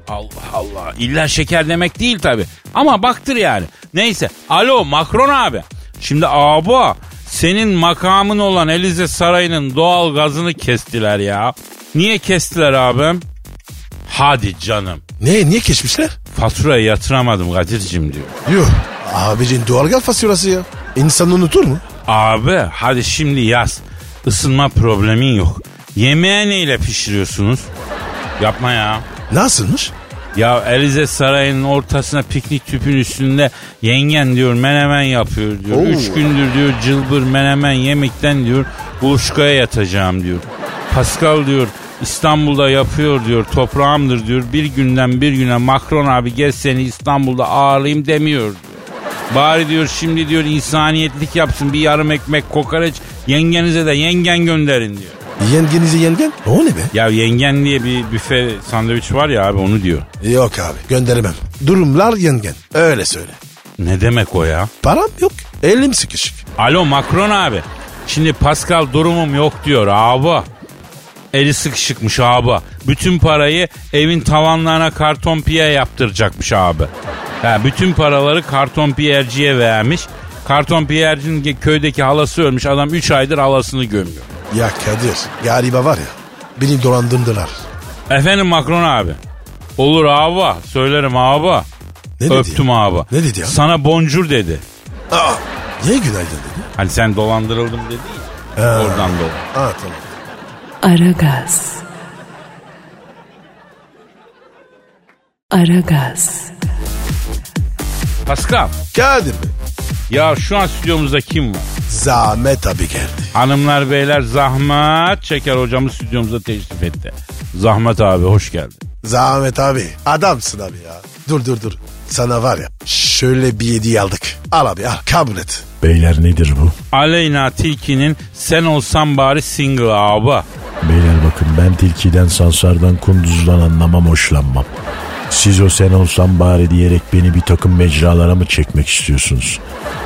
[SPEAKER 2] Allah Allah. İlla şeker demek değil tabi. Ama baktır yani. Neyse. Alo Macron abi. Şimdi abi senin makamın olan Elize Sarayı'nın doğal gazını kestiler ya. Niye kestiler abim? Hadi canım.
[SPEAKER 3] Ne, niye geçmişler?
[SPEAKER 2] Faturayı yatıramadım Kadir'cim diyor.
[SPEAKER 3] Yuh. Abicin doğalgaz fasulyesi ya. İnsan unutur mu?
[SPEAKER 2] Abi hadi şimdi yaz. Isınma problemin yok. Yemeğe neyle pişiriyorsunuz? Yapma ya.
[SPEAKER 3] Nasılmış?
[SPEAKER 2] Ya Elize Sarayı'nın ortasına piknik tüpün üstünde yengen diyor menemen yapıyor diyor.
[SPEAKER 3] Oo.
[SPEAKER 2] Üç gündür diyor cılbır menemen yemekten diyor buluşkaya yatacağım diyor. Pascal diyor İstanbul'da yapıyor diyor toprağımdır diyor. Bir günden bir güne Macron abi gel seni İstanbul'da ağırlayayım demiyor diyor. Bari diyor şimdi diyor insaniyetlik yapsın bir yarım ekmek kokoreç yengenize de yengen gönderin diyor.
[SPEAKER 3] Yengenize yengen? O ne be?
[SPEAKER 2] Ya yengen diye bir büfe sandviç var ya abi onu diyor.
[SPEAKER 3] Yok abi gönderemem. Durumlar yengen. Öyle söyle.
[SPEAKER 2] Ne demek o ya?
[SPEAKER 3] Param yok. Elim sıkışık.
[SPEAKER 2] Alo Macron abi. Şimdi Pascal durumum yok diyor abi. Eli sıkışıkmış abi. Bütün parayı evin tavanlarına karton piye yaptıracakmış abi. Ha, bütün paraları karton piyerciye vermiş. Karton piyercinin ge- köydeki halası ölmüş. Adam 3 aydır halasını gömüyor.
[SPEAKER 3] Ya Kadir galiba var ya beni dolandırdılar.
[SPEAKER 2] Efendim Macron abi. Olur abi. Söylerim abi.
[SPEAKER 3] Ne dedi
[SPEAKER 2] Öptüm
[SPEAKER 3] ya?
[SPEAKER 2] abi.
[SPEAKER 3] Ne dedi ya?
[SPEAKER 2] Sana boncur dedi.
[SPEAKER 3] Aa, niye günaydın dedi?
[SPEAKER 2] Hani sen dolandırıldım dedi ya.
[SPEAKER 3] Ha.
[SPEAKER 2] Oradan dolan.
[SPEAKER 3] Aa tamam.
[SPEAKER 1] Aragaz. Aragaz.
[SPEAKER 2] Pascal.
[SPEAKER 3] Kadir Bey
[SPEAKER 2] Ya şu an stüdyomuzda kim var?
[SPEAKER 3] zahmet abi geldi.
[SPEAKER 2] Hanımlar beyler zahmet çeker hocamız stüdyomuza teşrif etti. Zahmet abi hoş geldin.
[SPEAKER 3] Zahmet abi adamsın abi ya. Dur dur dur. Sana var ya şöyle bir hediye aldık. Al abi al kabul et.
[SPEAKER 4] Beyler nedir bu?
[SPEAKER 2] Aleyna Tilki'nin Sen Olsan Bari single abi.
[SPEAKER 4] Beyler bakın ben tilkiden, sansardan, kunduzdan anlamam hoşlanmam.
[SPEAKER 5] Siz o sen olsam bari diyerek beni bir takım mecralara mı çekmek istiyorsunuz?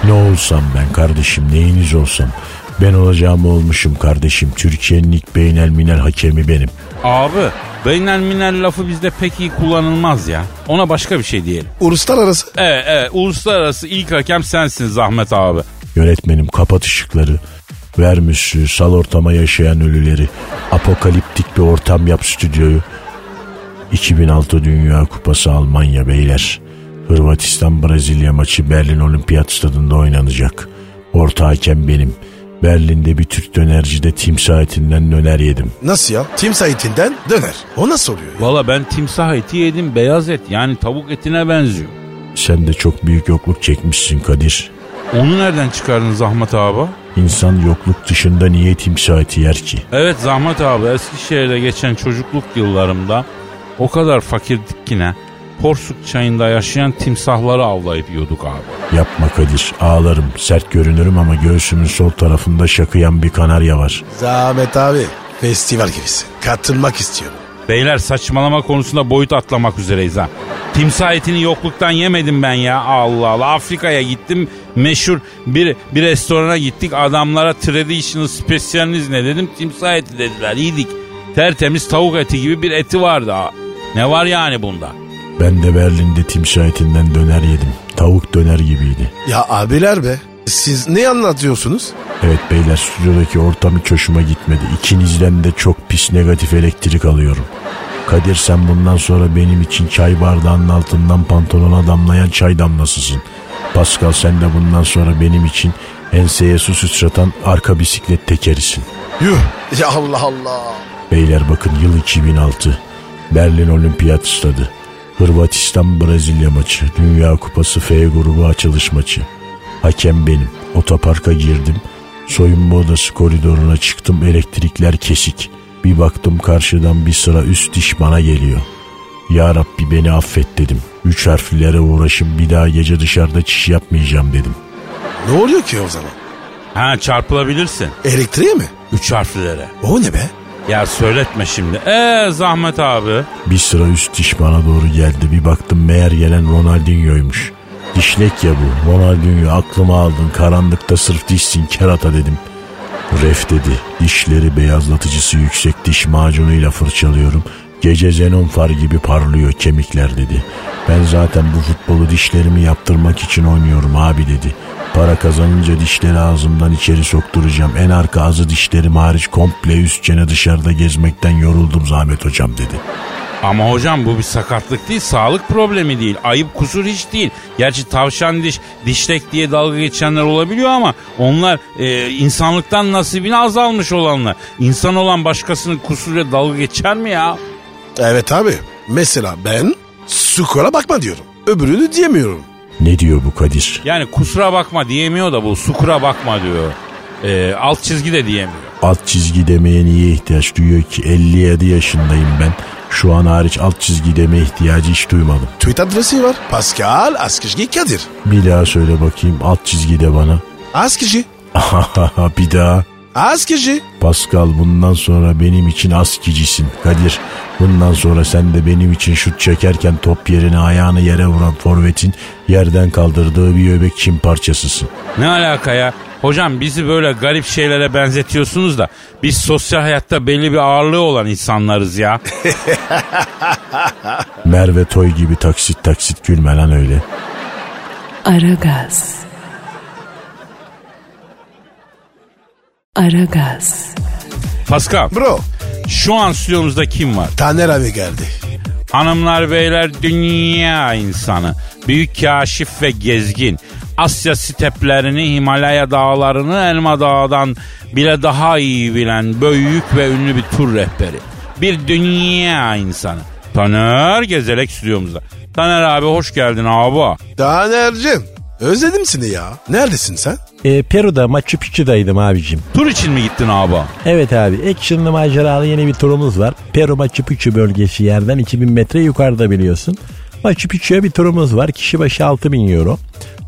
[SPEAKER 5] Ne olsam ben kardeşim neyiniz olsam? Ben olacağım olmuşum kardeşim. Türkiye'nin ilk beynel minel hakemi benim.
[SPEAKER 2] Abi beynel minel lafı bizde pek iyi kullanılmaz ya. Ona başka bir şey diyelim.
[SPEAKER 3] Uluslararası.
[SPEAKER 2] E, e, uluslararası ilk hakem sensin Zahmet abi.
[SPEAKER 5] Yönetmenim kapat ışıkları. Ver müsü, sal ortama yaşayan ölüleri. Apokaliptik bir ortam yap stüdyoyu. 2006 Dünya Kupası Almanya beyler. Hırvatistan Brezilya maçı Berlin Olimpiyat Stadında oynanacak. Orta hakem benim. Berlin'de bir Türk dönercide timsah etinden döner yedim.
[SPEAKER 3] Nasıl ya? Timsah etinden döner. O nasıl oluyor ya?
[SPEAKER 2] Valla ben timsah eti yedim beyaz et yani tavuk etine benziyor.
[SPEAKER 5] Sen de çok büyük yokluk çekmişsin Kadir.
[SPEAKER 2] Onu nereden çıkardın Zahmet abi?
[SPEAKER 5] İnsan yokluk dışında niye timsah eti yer ki?
[SPEAKER 2] Evet Zahmet abi Eskişehir'de geçen çocukluk yıllarımda o kadar fakirdik ki ne? Porsuk çayında yaşayan timsahları avlayıp yiyorduk abi.
[SPEAKER 5] Yapma Kadir ağlarım sert görünürüm ama göğsümün sol tarafında şakıyan bir kanarya var.
[SPEAKER 3] Zahmet abi. Festival gibisin. Katılmak istiyorum.
[SPEAKER 2] Beyler saçmalama konusunda boyut atlamak üzereyiz ha. Timsah etini yokluktan yemedim ben ya. Allah Allah. Afrika'ya gittim. Meşhur bir, bir restorana gittik. Adamlara traditional specialiniz ne dedim. Timsah eti dediler. Yedik. Tertemiz tavuk eti gibi bir eti vardı. ha. Ne var yani bunda?
[SPEAKER 5] Ben de Berlin'de timsah etinden döner yedim. Tavuk döner gibiydi.
[SPEAKER 3] Ya abiler be. Siz ne anlatıyorsunuz?
[SPEAKER 5] Evet beyler stüdyodaki ortam hiç hoşuma gitmedi. İkinizden de çok pis negatif elektrik alıyorum. Kadir sen bundan sonra benim için çay bardağının altından pantolona damlayan çay damlasısın. Pascal sen de bundan sonra benim için enseye su sıçratan arka bisiklet tekerisin.
[SPEAKER 3] Yuh. Ya Allah Allah.
[SPEAKER 5] Beyler bakın yıl 2006. Berlin Olimpiyat Stadı. Hırvatistan Brezilya maçı. Dünya Kupası F grubu açılış maçı. Hakem benim. Otoparka girdim. Soyunma odası koridoruna çıktım. Elektrikler kesik. Bir baktım karşıdan bir sıra üst diş bana geliyor. Ya Rabbi beni affet dedim. Üç harflere uğraşıp bir daha gece dışarıda çiş yapmayacağım dedim.
[SPEAKER 3] Ne oluyor ki o zaman?
[SPEAKER 2] Ha çarpılabilirsin.
[SPEAKER 3] Elektriğe mi?
[SPEAKER 2] Üç harflilere.
[SPEAKER 3] O ne be?
[SPEAKER 2] Ya söyletme şimdi. Eee Zahmet abi.
[SPEAKER 5] Bir sıra üst diş bana doğru geldi. Bir baktım meğer gelen Ronaldinho'ymuş. Dişlek ya bu. Ronaldinho aklıma aldın. Karanlıkta sırf dişsin kerata dedim. Ref dedi. Dişleri beyazlatıcısı yüksek diş macunuyla fırçalıyorum. Gece xenon far gibi parlıyor kemikler dedi. Ben zaten bu futbolu dişlerimi yaptırmak için oynuyorum abi dedi. Para kazanınca dişleri ağzımdan içeri sokturacağım. En arka ağzı dişlerim hariç komple üst çene dışarıda gezmekten yoruldum Zahmet hocam dedi.
[SPEAKER 2] Ama hocam bu bir sakatlık değil, sağlık problemi değil. Ayıp kusur hiç değil. Gerçi tavşan diş, dişlek diye dalga geçenler olabiliyor ama onlar e, insanlıktan nasibini azalmış olanlar. İnsan olan başkasının kusuruyla dalga geçer mi ya?
[SPEAKER 3] Evet abi. Mesela ben skola bakma diyorum. Öbürünü diyemiyorum.
[SPEAKER 5] Ne diyor bu Kadir?
[SPEAKER 2] Yani kusura bakma diyemiyor da bu sukura bakma diyor. E, alt çizgi de diyemiyor.
[SPEAKER 5] Alt çizgi demeye niye ihtiyaç duyuyor ki? 57 yaşındayım ben. Şu an hariç alt çizgi demeye ihtiyacı hiç duymadım.
[SPEAKER 3] Tweet adresi var. Pascal Askışgi Kadir.
[SPEAKER 5] Bir daha söyle bakayım alt çizgi de bana.
[SPEAKER 3] Askışgi.
[SPEAKER 5] bir daha.
[SPEAKER 3] Askışgi.
[SPEAKER 5] Pascal bundan sonra benim için askicisin. Kadir bundan sonra sen de benim için şut çekerken top yerine ayağını yere vuran forvetin yerden kaldırdığı bir öbek çim parçasısın.
[SPEAKER 2] Ne alaka ya? Hocam bizi böyle garip şeylere benzetiyorsunuz da biz sosyal hayatta belli bir ağırlığı olan insanlarız ya.
[SPEAKER 5] Merve Toy gibi taksit taksit gülme lan öyle.
[SPEAKER 1] Aragaz. Aragaz.
[SPEAKER 2] Pascal
[SPEAKER 3] Bro.
[SPEAKER 2] şu an stüdyomuzda kim var?
[SPEAKER 3] Taner abi geldi.
[SPEAKER 2] Hanımlar beyler dünya insanı. Büyük kaşif ve gezgin. Asya steplerini, Himalaya dağlarını Elma Dağı'dan bile daha iyi bilen büyük ve ünlü bir tur rehberi. Bir dünya insanı. Taner Gezelek stüdyomuzda. Taner abi hoş geldin abi.
[SPEAKER 3] Taner'cim. Özledim seni ya. Neredesin sen?
[SPEAKER 6] E, Peru'da Machu Picchu'daydım abicim.
[SPEAKER 2] Tur için mi gittin abi?
[SPEAKER 6] Evet abi actionlı maceralı yeni bir turumuz var. Peru Machu Picchu bölgesi yerden 2000 metre yukarıda biliyorsun. Machu Picchu'ya bir turumuz var. Kişi başı 6000 euro.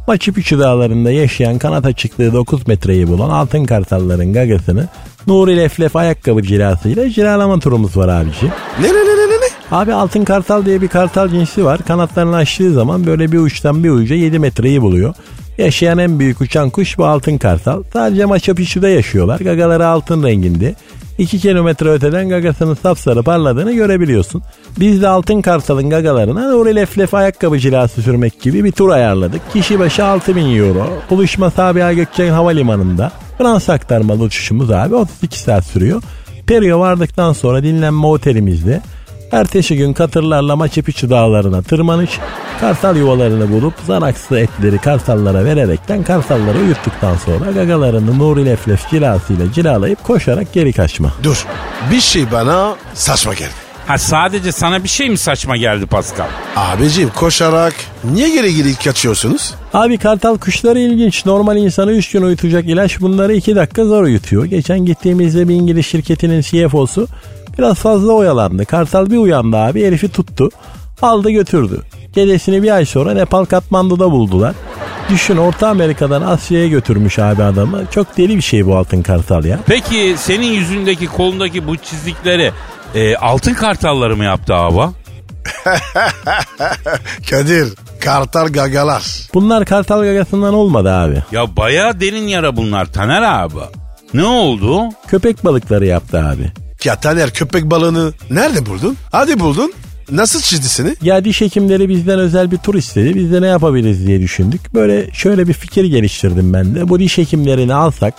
[SPEAKER 6] Machu Picchu dağlarında yaşayan kanat açıklığı 9 metreyi bulan altın kartalların gagasını Nuri Leflef ayakkabı cilasıyla ciralama turumuz var abicim.
[SPEAKER 3] Ne ne ne ne ne ne?
[SPEAKER 5] Abi altın kartal diye bir kartal cinsi var. Kanatlarını açtığı zaman böyle bir uçtan bir uca 7 metreyi buluyor. Yaşayan en büyük uçan kuş bu altın kartal. Sadece Machu Picchu'da yaşıyorlar. Gagaları altın renginde. 2 kilometre öteden gagasının sapsarı parladığını görebiliyorsun. Biz de altın kartalın gagalarına doğru lef lef ayakkabı cilası sürmek gibi bir tur ayarladık. Kişi başı 6000 euro. Buluşma Sabiha Gökçen Havalimanı'nda. Fransa aktarmalı uçuşumuz abi 32 saat sürüyor. Peru'ya vardıktan sonra dinlenme otelimizde. Ertesi gün katırlarla Machu Picchu dağlarına tırmanış, kartal yuvalarını bulup zanaksız etleri kartallara vererekten kartalları uyuttuktan sonra gagalarını Nuri Leflef cilasıyla cilalayıp koşarak geri kaçma.
[SPEAKER 3] Dur. Bir şey bana saçma geldi.
[SPEAKER 2] Ha sadece sana bir şey mi saçma geldi Pascal?
[SPEAKER 3] Abicim koşarak niye geri geri kaçıyorsunuz?
[SPEAKER 5] Abi kartal kuşları ilginç. Normal insanı 3 gün uyutacak ilaç bunları 2 dakika zor uyutuyor. Geçen gittiğimizde bir İngiliz şirketinin CFO'su biraz fazla oyalandı. Kartal bir uyandı abi herifi tuttu. Aldı götürdü. Gecesini bir ay sonra Nepal Katmandu'da buldular. Düşün Orta Amerika'dan Asya'ya götürmüş abi adamı. Çok deli bir şey bu altın kartal ya.
[SPEAKER 2] Peki senin yüzündeki kolundaki bu çizikleri e, altın kartalları mı yaptı abi?
[SPEAKER 3] Kadir. Kartal gagalar.
[SPEAKER 5] Bunlar kartal gagasından olmadı abi.
[SPEAKER 2] Ya bayağı derin yara bunlar Taner abi. Ne oldu?
[SPEAKER 5] Köpek balıkları yaptı abi.
[SPEAKER 3] Ya Taner er köpek balığını nerede buldun? Hadi buldun. Nasıl çizdi seni?
[SPEAKER 5] Ya diş hekimleri bizden özel bir tur istedi. Biz de ne yapabiliriz diye düşündük. Böyle şöyle bir fikir geliştirdim ben de. Bu diş hekimlerini alsak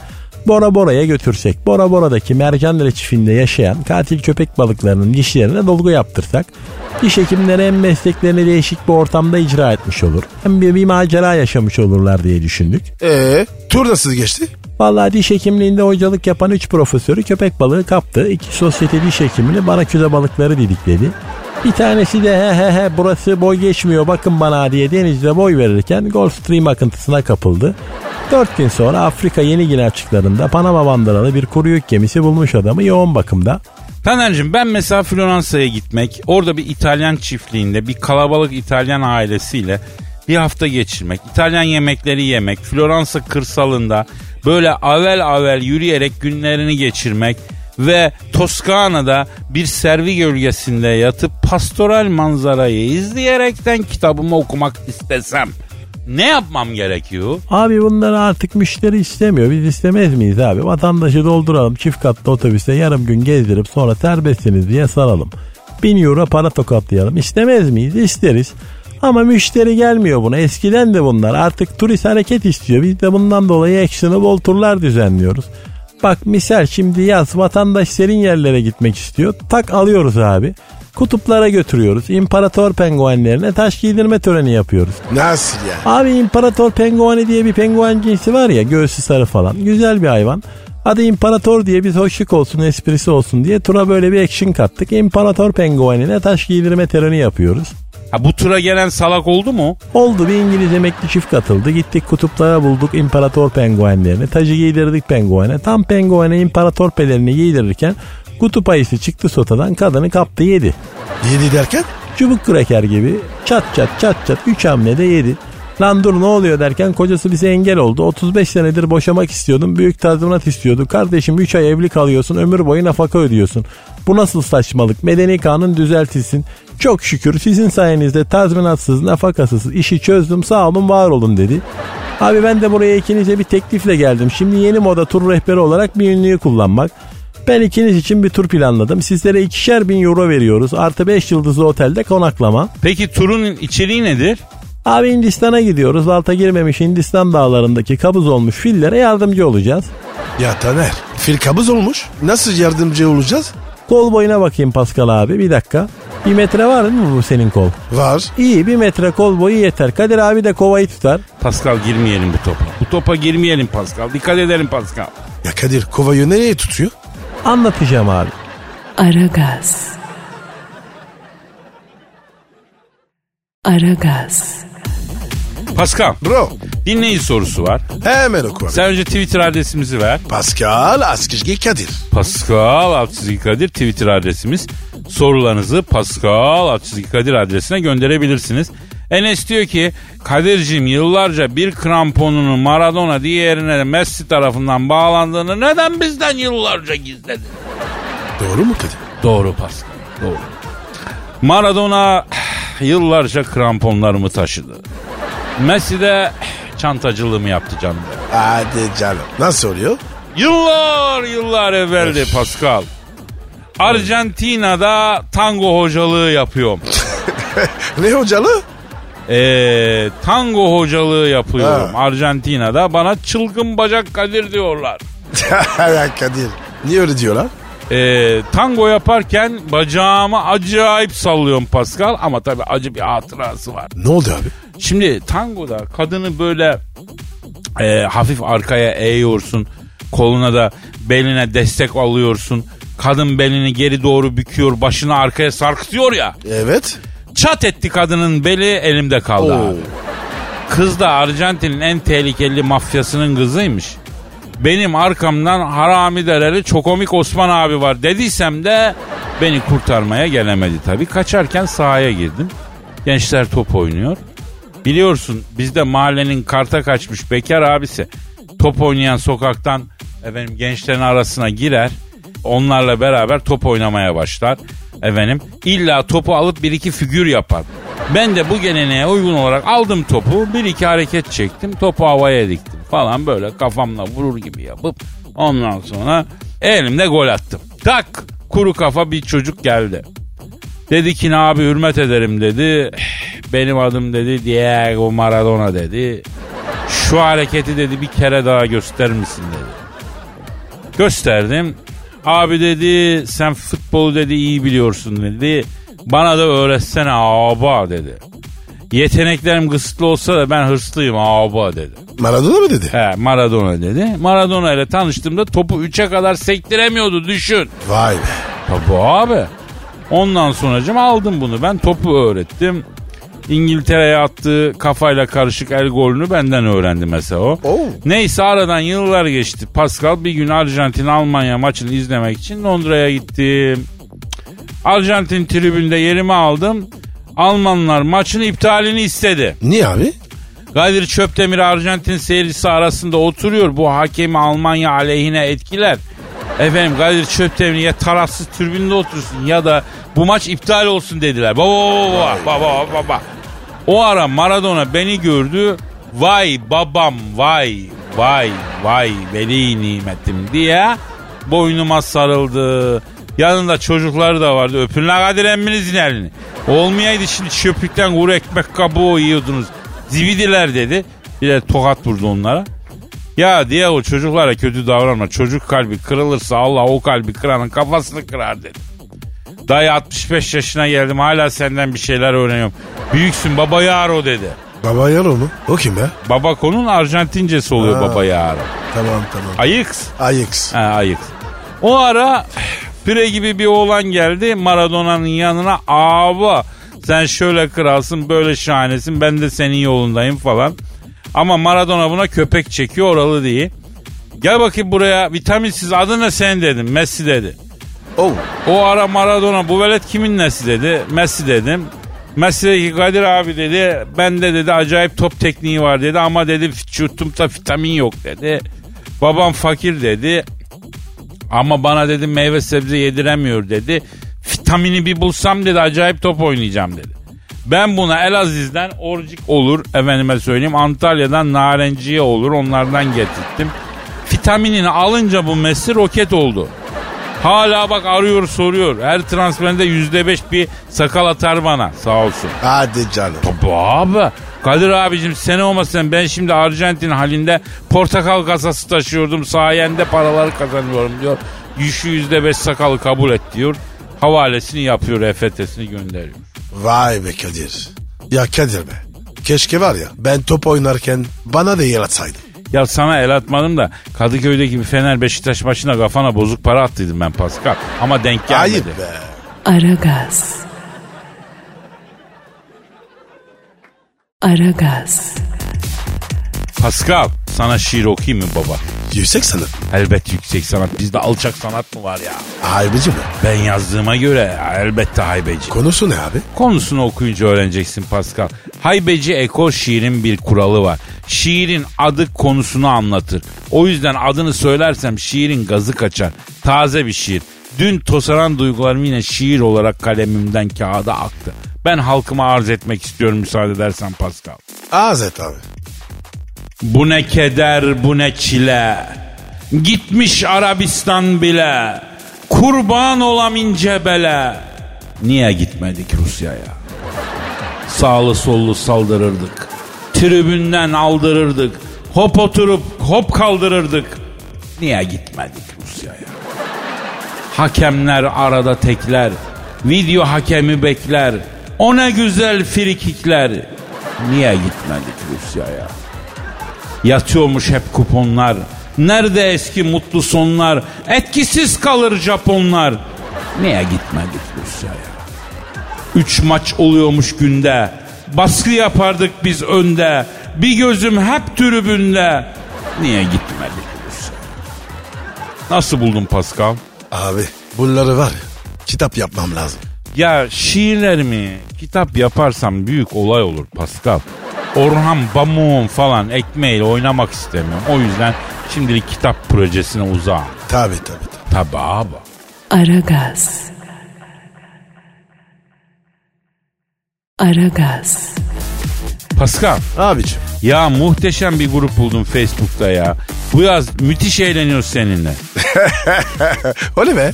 [SPEAKER 5] Bora Bora'ya götürsek. Bora Bora'daki mercan reçifinde yaşayan katil köpek balıklarının dişlerine dolgu yaptırsak. Diş hekimleri hem mesleklerini değişik bir ortamda icra etmiş olur. Hem bir, bir macera yaşamış olurlar diye düşündük.
[SPEAKER 3] Ee, tur nasıl geçti?
[SPEAKER 5] Vallahi diş hekimliğinde hocalık yapan 3 profesörü köpek balığı kaptı. İki sosyete diş hekimini baraküda balıkları didikledi. Bir tanesi de he he he burası boy geçmiyor bakın bana diye denizde boy verirken Gulf Stream akıntısına kapıldı. 4 gün sonra Afrika Yeni Gine açıklarında Panama bandıralı bir kuru yük gemisi bulmuş adamı yoğun bakımda.
[SPEAKER 2] Taner'cim ben mesela Floransa'ya gitmek, orada bir İtalyan çiftliğinde bir kalabalık İtalyan ailesiyle bir hafta geçirmek, İtalyan yemekleri yemek, Floransa kırsalında böyle avel avel yürüyerek günlerini geçirmek ve Toskana'da bir servi gölgesinde yatıp pastoral manzarayı izleyerekten kitabımı okumak istesem ne yapmam gerekiyor?
[SPEAKER 5] Abi bunları artık müşteri istemiyor. Biz istemez miyiz abi? Vatandaşı dolduralım çift katlı otobüste yarım gün gezdirip sonra serbestsiniz diye saralım. Bin euro para tokatlayalım. İstemez miyiz? İsteriz. Ama müşteri gelmiyor buna. Eskiden de bunlar. Artık turist hareket istiyor. Biz de bundan dolayı action'ı bol turlar düzenliyoruz. Bak misal şimdi yaz vatandaş serin yerlere gitmek istiyor. Tak alıyoruz abi. Kutuplara götürüyoruz. İmparator penguenlerine taş giydirme töreni yapıyoruz.
[SPEAKER 3] Nasıl ya?
[SPEAKER 5] Abi imparator pengueni diye bir penguen cinsi var ya göğsü sarı falan. Güzel bir hayvan. Hadi imparator diye bir hoşluk olsun esprisi olsun diye tura böyle bir action kattık. İmparator penguenine taş giydirme töreni yapıyoruz.
[SPEAKER 2] Ha bu tura gelen salak oldu mu?
[SPEAKER 5] Oldu bir İngiliz emekli çift katıldı. Gittik kutuplara bulduk imparator penguenlerini. Tacı giydirdik penguene. Tam penguene imparator pelerini giydirirken kutup ayısı çıktı sotadan kadını kaptı yedi.
[SPEAKER 3] Yedi derken?
[SPEAKER 5] Çubuk kraker gibi çat çat çat çat 3 hamlede yedi. Lan dur ne oluyor derken kocası bize engel oldu. 35 senedir boşamak istiyordum. Büyük tazminat istiyordu. Kardeşim 3 ay evli kalıyorsun. Ömür boyu nafaka ödüyorsun. Bu nasıl saçmalık? Medeni kanun düzeltilsin. Çok şükür sizin sayenizde tazminatsız, nafakasız işi çözdüm. Sağ olun, var olun dedi. Abi ben de buraya ikinize bir teklifle geldim. Şimdi yeni moda tur rehberi olarak bir ünlüyü kullanmak. Ben ikiniz için bir tur planladım. Sizlere ikişer bin euro veriyoruz. Artı 5 yıldızlı otelde konaklama.
[SPEAKER 2] Peki turun içeriği nedir?
[SPEAKER 5] Abi Hindistan'a gidiyoruz. Alta girmemiş Hindistan dağlarındaki kabız olmuş fillere yardımcı olacağız.
[SPEAKER 3] Ya Taner er. fil kabız olmuş. Nasıl yardımcı olacağız?
[SPEAKER 5] Kol boyuna bakayım Pascal abi bir dakika. Bir metre var mı bu senin kol?
[SPEAKER 3] Var.
[SPEAKER 5] İyi bir metre kol boyu yeter. Kadir abi de kovayı tutar.
[SPEAKER 2] Pascal girmeyelim bu topa. Bu topa girmeyelim Pascal. Dikkat edelim Pascal.
[SPEAKER 3] Ya Kadir kovayı nereye tutuyor?
[SPEAKER 5] Anlatacağım abi.
[SPEAKER 1] Aragaz. Aragaz.
[SPEAKER 2] Pascal
[SPEAKER 3] Bro
[SPEAKER 2] dinleyici sorusu var.
[SPEAKER 3] hemen oku abi.
[SPEAKER 2] Sen önce Twitter adresimizi ver.
[SPEAKER 3] Pascal Askizgi Kadir.
[SPEAKER 2] Pascal Askizgi Kadir Twitter adresimiz. Sorularınızı Pascal Askizgi Kadir adresine gönderebilirsiniz. Enes diyor ki Kadir'cim yıllarca bir kramponunu Maradona diğerine de Messi tarafından bağlandığını neden bizden yıllarca gizledin?
[SPEAKER 3] Doğru mu Kadir?
[SPEAKER 2] Doğru Pascal. Doğru. Maradona yıllarca kramponlarımı taşıdı. Messi de çantacılığımı yaptı canım.
[SPEAKER 3] Hadi canım. Nasıl oluyor?
[SPEAKER 2] Yıllar yıllar evveldi Pascal. Arjantina'da tango hocalığı yapıyorum.
[SPEAKER 3] Ne hocalı?
[SPEAKER 2] Ee, tango hocalığı yapıyorum
[SPEAKER 3] Ha.
[SPEAKER 2] Arjantina'da. Bana çılgın bacak Kadir diyorlar.
[SPEAKER 3] Ya Kadir. Niye öyle diyorlar?
[SPEAKER 2] Ee, tango yaparken bacağımı acayip sallıyorum Pascal ama tabii acı bir hatırası var.
[SPEAKER 3] Ne oldu abi?
[SPEAKER 2] Şimdi tangoda kadını böyle e, hafif arkaya eğiyorsun. Koluna da beline destek alıyorsun. Kadın belini geri doğru büküyor, başını arkaya sarkıtıyor ya.
[SPEAKER 3] Evet.
[SPEAKER 2] Çat etti kadının beli elimde kaldı.
[SPEAKER 3] Oo.
[SPEAKER 2] abi. Kız da Arjantin'in en tehlikeli mafyasının kızıymış. Benim arkamdan haramideleri Çokomik Osman abi var dediysem de beni kurtarmaya gelemedi tabii. Kaçarken sahaya girdim. Gençler top oynuyor. Biliyorsun bizde mahallenin karta kaçmış bekar abisi top oynayan sokaktan efendim gençlerin arasına girer. Onlarla beraber top oynamaya başlar. Efendim illa topu alıp bir iki figür yapar. Ben de bu geleneğe uygun olarak aldım topu. Bir iki hareket çektim. Topu havaya diktim falan böyle kafamla vurur gibi yapıp ondan sonra elimde gol attım. Tak kuru kafa bir çocuk geldi. Dedi ki ne abi hürmet ederim dedi. "Eh, Benim adım dedi Diego Maradona dedi. Şu hareketi dedi bir kere daha gösterir misin dedi. Gösterdim. Abi dedi sen futbolu dedi iyi biliyorsun dedi. Bana da öğretsene aba dedi. Yeteneklerim kısıtlı olsa da ben hırslıyım aba dedi.
[SPEAKER 3] Maradona mı dedi?
[SPEAKER 2] He Maradona dedi. Maradona ile tanıştığımda topu 3'e kadar sektiremiyordu düşün.
[SPEAKER 3] Vay be.
[SPEAKER 2] Tabii abi. Ondan sonracım aldım bunu. Ben topu öğrettim. İngiltere'ye attığı kafayla karışık el golünü benden öğrendi mesela o.
[SPEAKER 3] Oo.
[SPEAKER 2] Neyse aradan yıllar geçti. Pascal bir gün Arjantin-Almanya maçını izlemek için Londra'ya gittim. Arjantin tribünde yerimi aldım. Almanlar maçın iptalini istedi.
[SPEAKER 3] Niye abi?
[SPEAKER 2] Kadir Çöptemir Arjantin seyircisi arasında oturuyor. Bu hakemi Almanya aleyhine etkiler. Efendim Kadir Çöptemir ya tarafsız tribünde otursun ya da bu maç iptal olsun dediler. Baba baba baba baba baba. O ara Maradona beni gördü. Vay babam vay vay vay veli nimetim diye boynuma sarıldı. Yanında çocukları da vardı. Öpün la Kadir emminizin elini. Olmayaydı şimdi çöplükten kuru ekmek kabuğu yiyordunuz. Zibidiler dedi. Bir de tokat vurdu onlara. Ya Diego çocuklara kötü davranma. Çocuk kalbi kırılırsa Allah o kalbi kıranın kafasını kırar dedi. Dayı 65 yaşına geldim hala senden bir şeyler öğreniyorum. Büyüksün baba yaro dedi.
[SPEAKER 3] Baba yar onu. O kim be?
[SPEAKER 2] Baba konun Arjantincesi oluyor
[SPEAKER 3] Ha.
[SPEAKER 2] baba yaro.
[SPEAKER 3] Tamam tamam.
[SPEAKER 2] Ayıks.
[SPEAKER 3] Ajax.
[SPEAKER 2] Ha, ayık. O ara pire gibi bir oğlan geldi Maradona'nın yanına. Abi sen şöyle kralsın böyle şahanesin ben de senin yolundayım falan. Ama Maradona buna köpek çekiyor oralı diye. Gel bakayım buraya vitaminsiz adı ne sen dedim Messi dedi.
[SPEAKER 3] Oh.
[SPEAKER 2] O ara Maradona bu velet kimin nesi dedi. Messi dedim. Messi dedi ki Kadir abi dedi. Bende dedi acayip top tekniği var dedi. Ama dedi çuttumda vitamin yok dedi. Babam fakir dedi. Ama bana dedi meyve sebze yediremiyor dedi. Vitamini bir bulsam dedi acayip top oynayacağım dedi. Ben buna Elaziz'den orcik olur efendime söyleyeyim. Antalya'dan narenciye olur onlardan getirttim. Vitaminini alınca bu Messi roket oldu. Hala bak arıyor soruyor. Her transferinde yüzde beş bir sakal atar bana sağ olsun.
[SPEAKER 3] Hadi canım.
[SPEAKER 2] Tabii abi. Kadir abicim sen olmasan ben şimdi Arjantin halinde portakal kasası taşıyordum. Sayende paraları kazanıyorum diyor. Yüzü yüzde beş sakalı kabul et diyor. Havalesini yapıyor, EFT'sini gönderiyor.
[SPEAKER 3] Vay be Kadir. Ya Kadir be. Keşke var ya ben top oynarken bana da yer atsaydın.
[SPEAKER 2] Ya sana el atmadım da Kadıköy'deki bir Fener Beşiktaş maçına kafana bozuk para attıydım ben Pascal. Ama denk gelmedi.
[SPEAKER 3] Ayıp be.
[SPEAKER 1] Aragaz. Aragaz.
[SPEAKER 2] Pascal sana şiir okuyayım mı baba?
[SPEAKER 3] Yüksek sanırım.
[SPEAKER 2] Elbet yüksek sanat. Bizde alçak sanat mı var ya?
[SPEAKER 3] Harbicim be.
[SPEAKER 2] Ben yazdığıma göre elbette haybeci.
[SPEAKER 3] Konusu ne abi?
[SPEAKER 2] Konusunu okuyunca öğreneceksin Pascal. Haybeci Eko şiirin bir kuralı var. Şiirin adı konusunu anlatır. O yüzden adını söylersem şiirin gazı kaçar. Taze bir şiir. Dün tosaran duygularım yine şiir olarak kalemimden kağıda aktı. Ben halkıma arz etmek istiyorum müsaade edersen Pascal.
[SPEAKER 3] Azet abi.
[SPEAKER 2] Bu ne keder bu ne çile Gitmiş Arabistan bile Kurban olam ince bele Niye gitmedik Rusya'ya Sağlı sollu saldırırdık Tribünden aldırırdık Hop oturup hop kaldırırdık Niye gitmedik Rusya'ya Hakemler arada tekler Video hakemi bekler O ne güzel frikikler Niye gitmedik Rusya'ya Yatıyormuş hep kuponlar. Nerede eski mutlu sonlar? Etkisiz kalır Japonlar. Niye gitmedik Rusya'ya? Üç maç oluyormuş günde. Baskı yapardık biz önde. Bir gözüm hep tribünde. Niye gitmedik Rusya'ya? Nasıl buldun Pascal?
[SPEAKER 3] Abi bunları var ya, kitap yapmam lazım.
[SPEAKER 2] Ya şiirlerimi kitap yaparsam büyük olay olur Pascal. Orhan Pamuk'un falan ekmeğiyle oynamak istemiyorum. O yüzden şimdilik kitap projesine uzağım.
[SPEAKER 3] Tabi tabi tabi.
[SPEAKER 2] Tabi abi.
[SPEAKER 1] Aragaz. Aragaz.
[SPEAKER 2] Pascal
[SPEAKER 3] Abicim
[SPEAKER 2] ya muhteşem bir grup buldum Facebook'ta ya. Bu yaz müthiş eğleniyoruz seninle.
[SPEAKER 3] o ne be?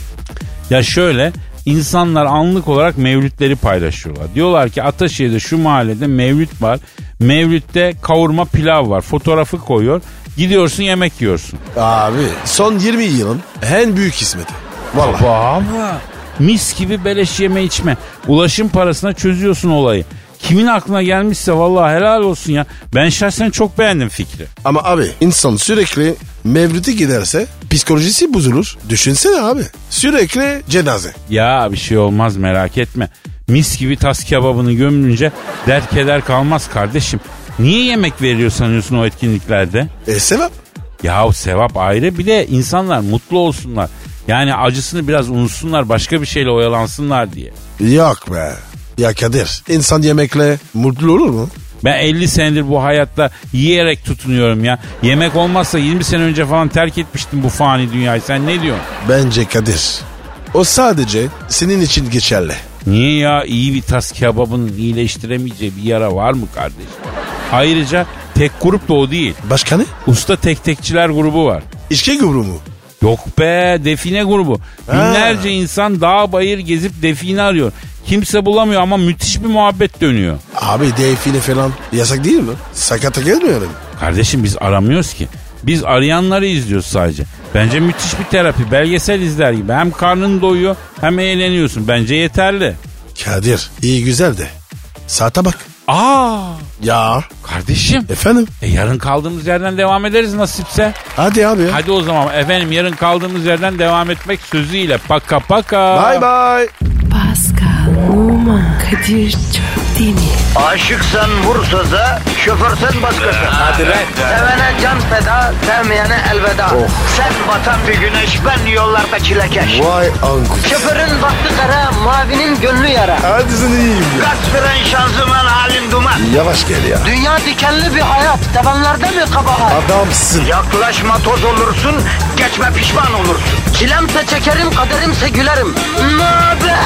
[SPEAKER 2] Ya şöyle insanlar anlık olarak mevlütleri paylaşıyorlar. Diyorlar ki Ataşehir'de şu mahallede mevlüt var. Mevlütte kavurma pilav var. Fotoğrafı koyuyor. Gidiyorsun yemek yiyorsun.
[SPEAKER 3] Abi son 20 yılın en büyük hizmeti. Vallahi.
[SPEAKER 2] Baba. Mis gibi beleş yeme içme. Ulaşım parasına çözüyorsun olayı. Kimin aklına gelmişse vallahi helal olsun ya. Ben şahsen çok beğendim fikri.
[SPEAKER 3] Ama abi insan sürekli mevlüte giderse psikolojisi bozulur. Düşünsene abi. Sürekli cenaze.
[SPEAKER 2] Ya bir şey olmaz merak etme. Mis gibi tas kebabını gömünce dert keder kalmaz kardeşim. Niye yemek veriyor sanıyorsun o etkinliklerde?
[SPEAKER 3] E sevap.
[SPEAKER 2] Yahu sevap ayrı bir de insanlar mutlu olsunlar. Yani acısını biraz unutsunlar başka bir şeyle oyalansınlar diye.
[SPEAKER 3] Yok be. Ya Kadir insan yemekle mutlu olur mu?
[SPEAKER 2] Ben 50 senedir bu hayatta yiyerek tutunuyorum ya. Yemek olmazsa 20 sene önce falan terk etmiştim bu fani dünyayı. Sen ne diyorsun?
[SPEAKER 3] Bence Kadir. O sadece senin için geçerli.
[SPEAKER 2] Niye ya iyi bir tas kebabının iyileştiremeyeceği bir yara var mı kardeşim? Ayrıca tek grup da o değil.
[SPEAKER 3] Başka ne?
[SPEAKER 2] Usta tek tekçiler grubu var.
[SPEAKER 3] İçki grubu mu?
[SPEAKER 2] Yok be define grubu. Binlerce insan dağ bayır gezip define arıyor. Kimse bulamıyor ama müthiş bir muhabbet dönüyor.
[SPEAKER 3] Abi define falan yasak değil mi? Sakata gelmiyor mu?
[SPEAKER 2] Kardeşim biz aramıyoruz ki. Biz arayanları izliyoruz sadece. Bence müthiş bir terapi. Belgesel izler gibi. Hem karnın doyuyor hem eğleniyorsun. Bence yeterli.
[SPEAKER 3] Kadir iyi güzel de. Saate bak.
[SPEAKER 2] Aa
[SPEAKER 3] Ya
[SPEAKER 2] kardeşim.
[SPEAKER 3] efendim
[SPEAKER 2] E, yarın kaldığımız yerden devam ederiz nasipse.
[SPEAKER 3] hadi abi.
[SPEAKER 2] Hadi o zaman efendim yarın kaldığımız yerden devam etmek sözüyle. Paka paka.
[SPEAKER 3] Bye bye.
[SPEAKER 1] Pascal, Oman, Kadir çok değil mi?
[SPEAKER 7] Aşıksan vursa da, şoförsen başkasın. Hadi Sevene can feda, sevmeyene elveda. Sen batan bir güneş, ben yollarda çilekeş.
[SPEAKER 3] Vay anku.
[SPEAKER 7] Şoförün baktı kara, mavinin gönlü yara.
[SPEAKER 3] Hadi sen iyiyim ya.
[SPEAKER 7] Kasperen şanzıman halin duman.
[SPEAKER 3] Yavaş gel ya.
[SPEAKER 7] Dünya dikenli bir hayat, sevenlerde mi kabahar?
[SPEAKER 3] Adamsın.
[SPEAKER 7] Yaklaşma toz olursun, geçme pişman olursun. Çilemse çekerim, kaderimse gülerim. Möber!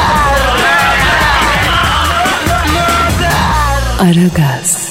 [SPEAKER 1] Aragaz.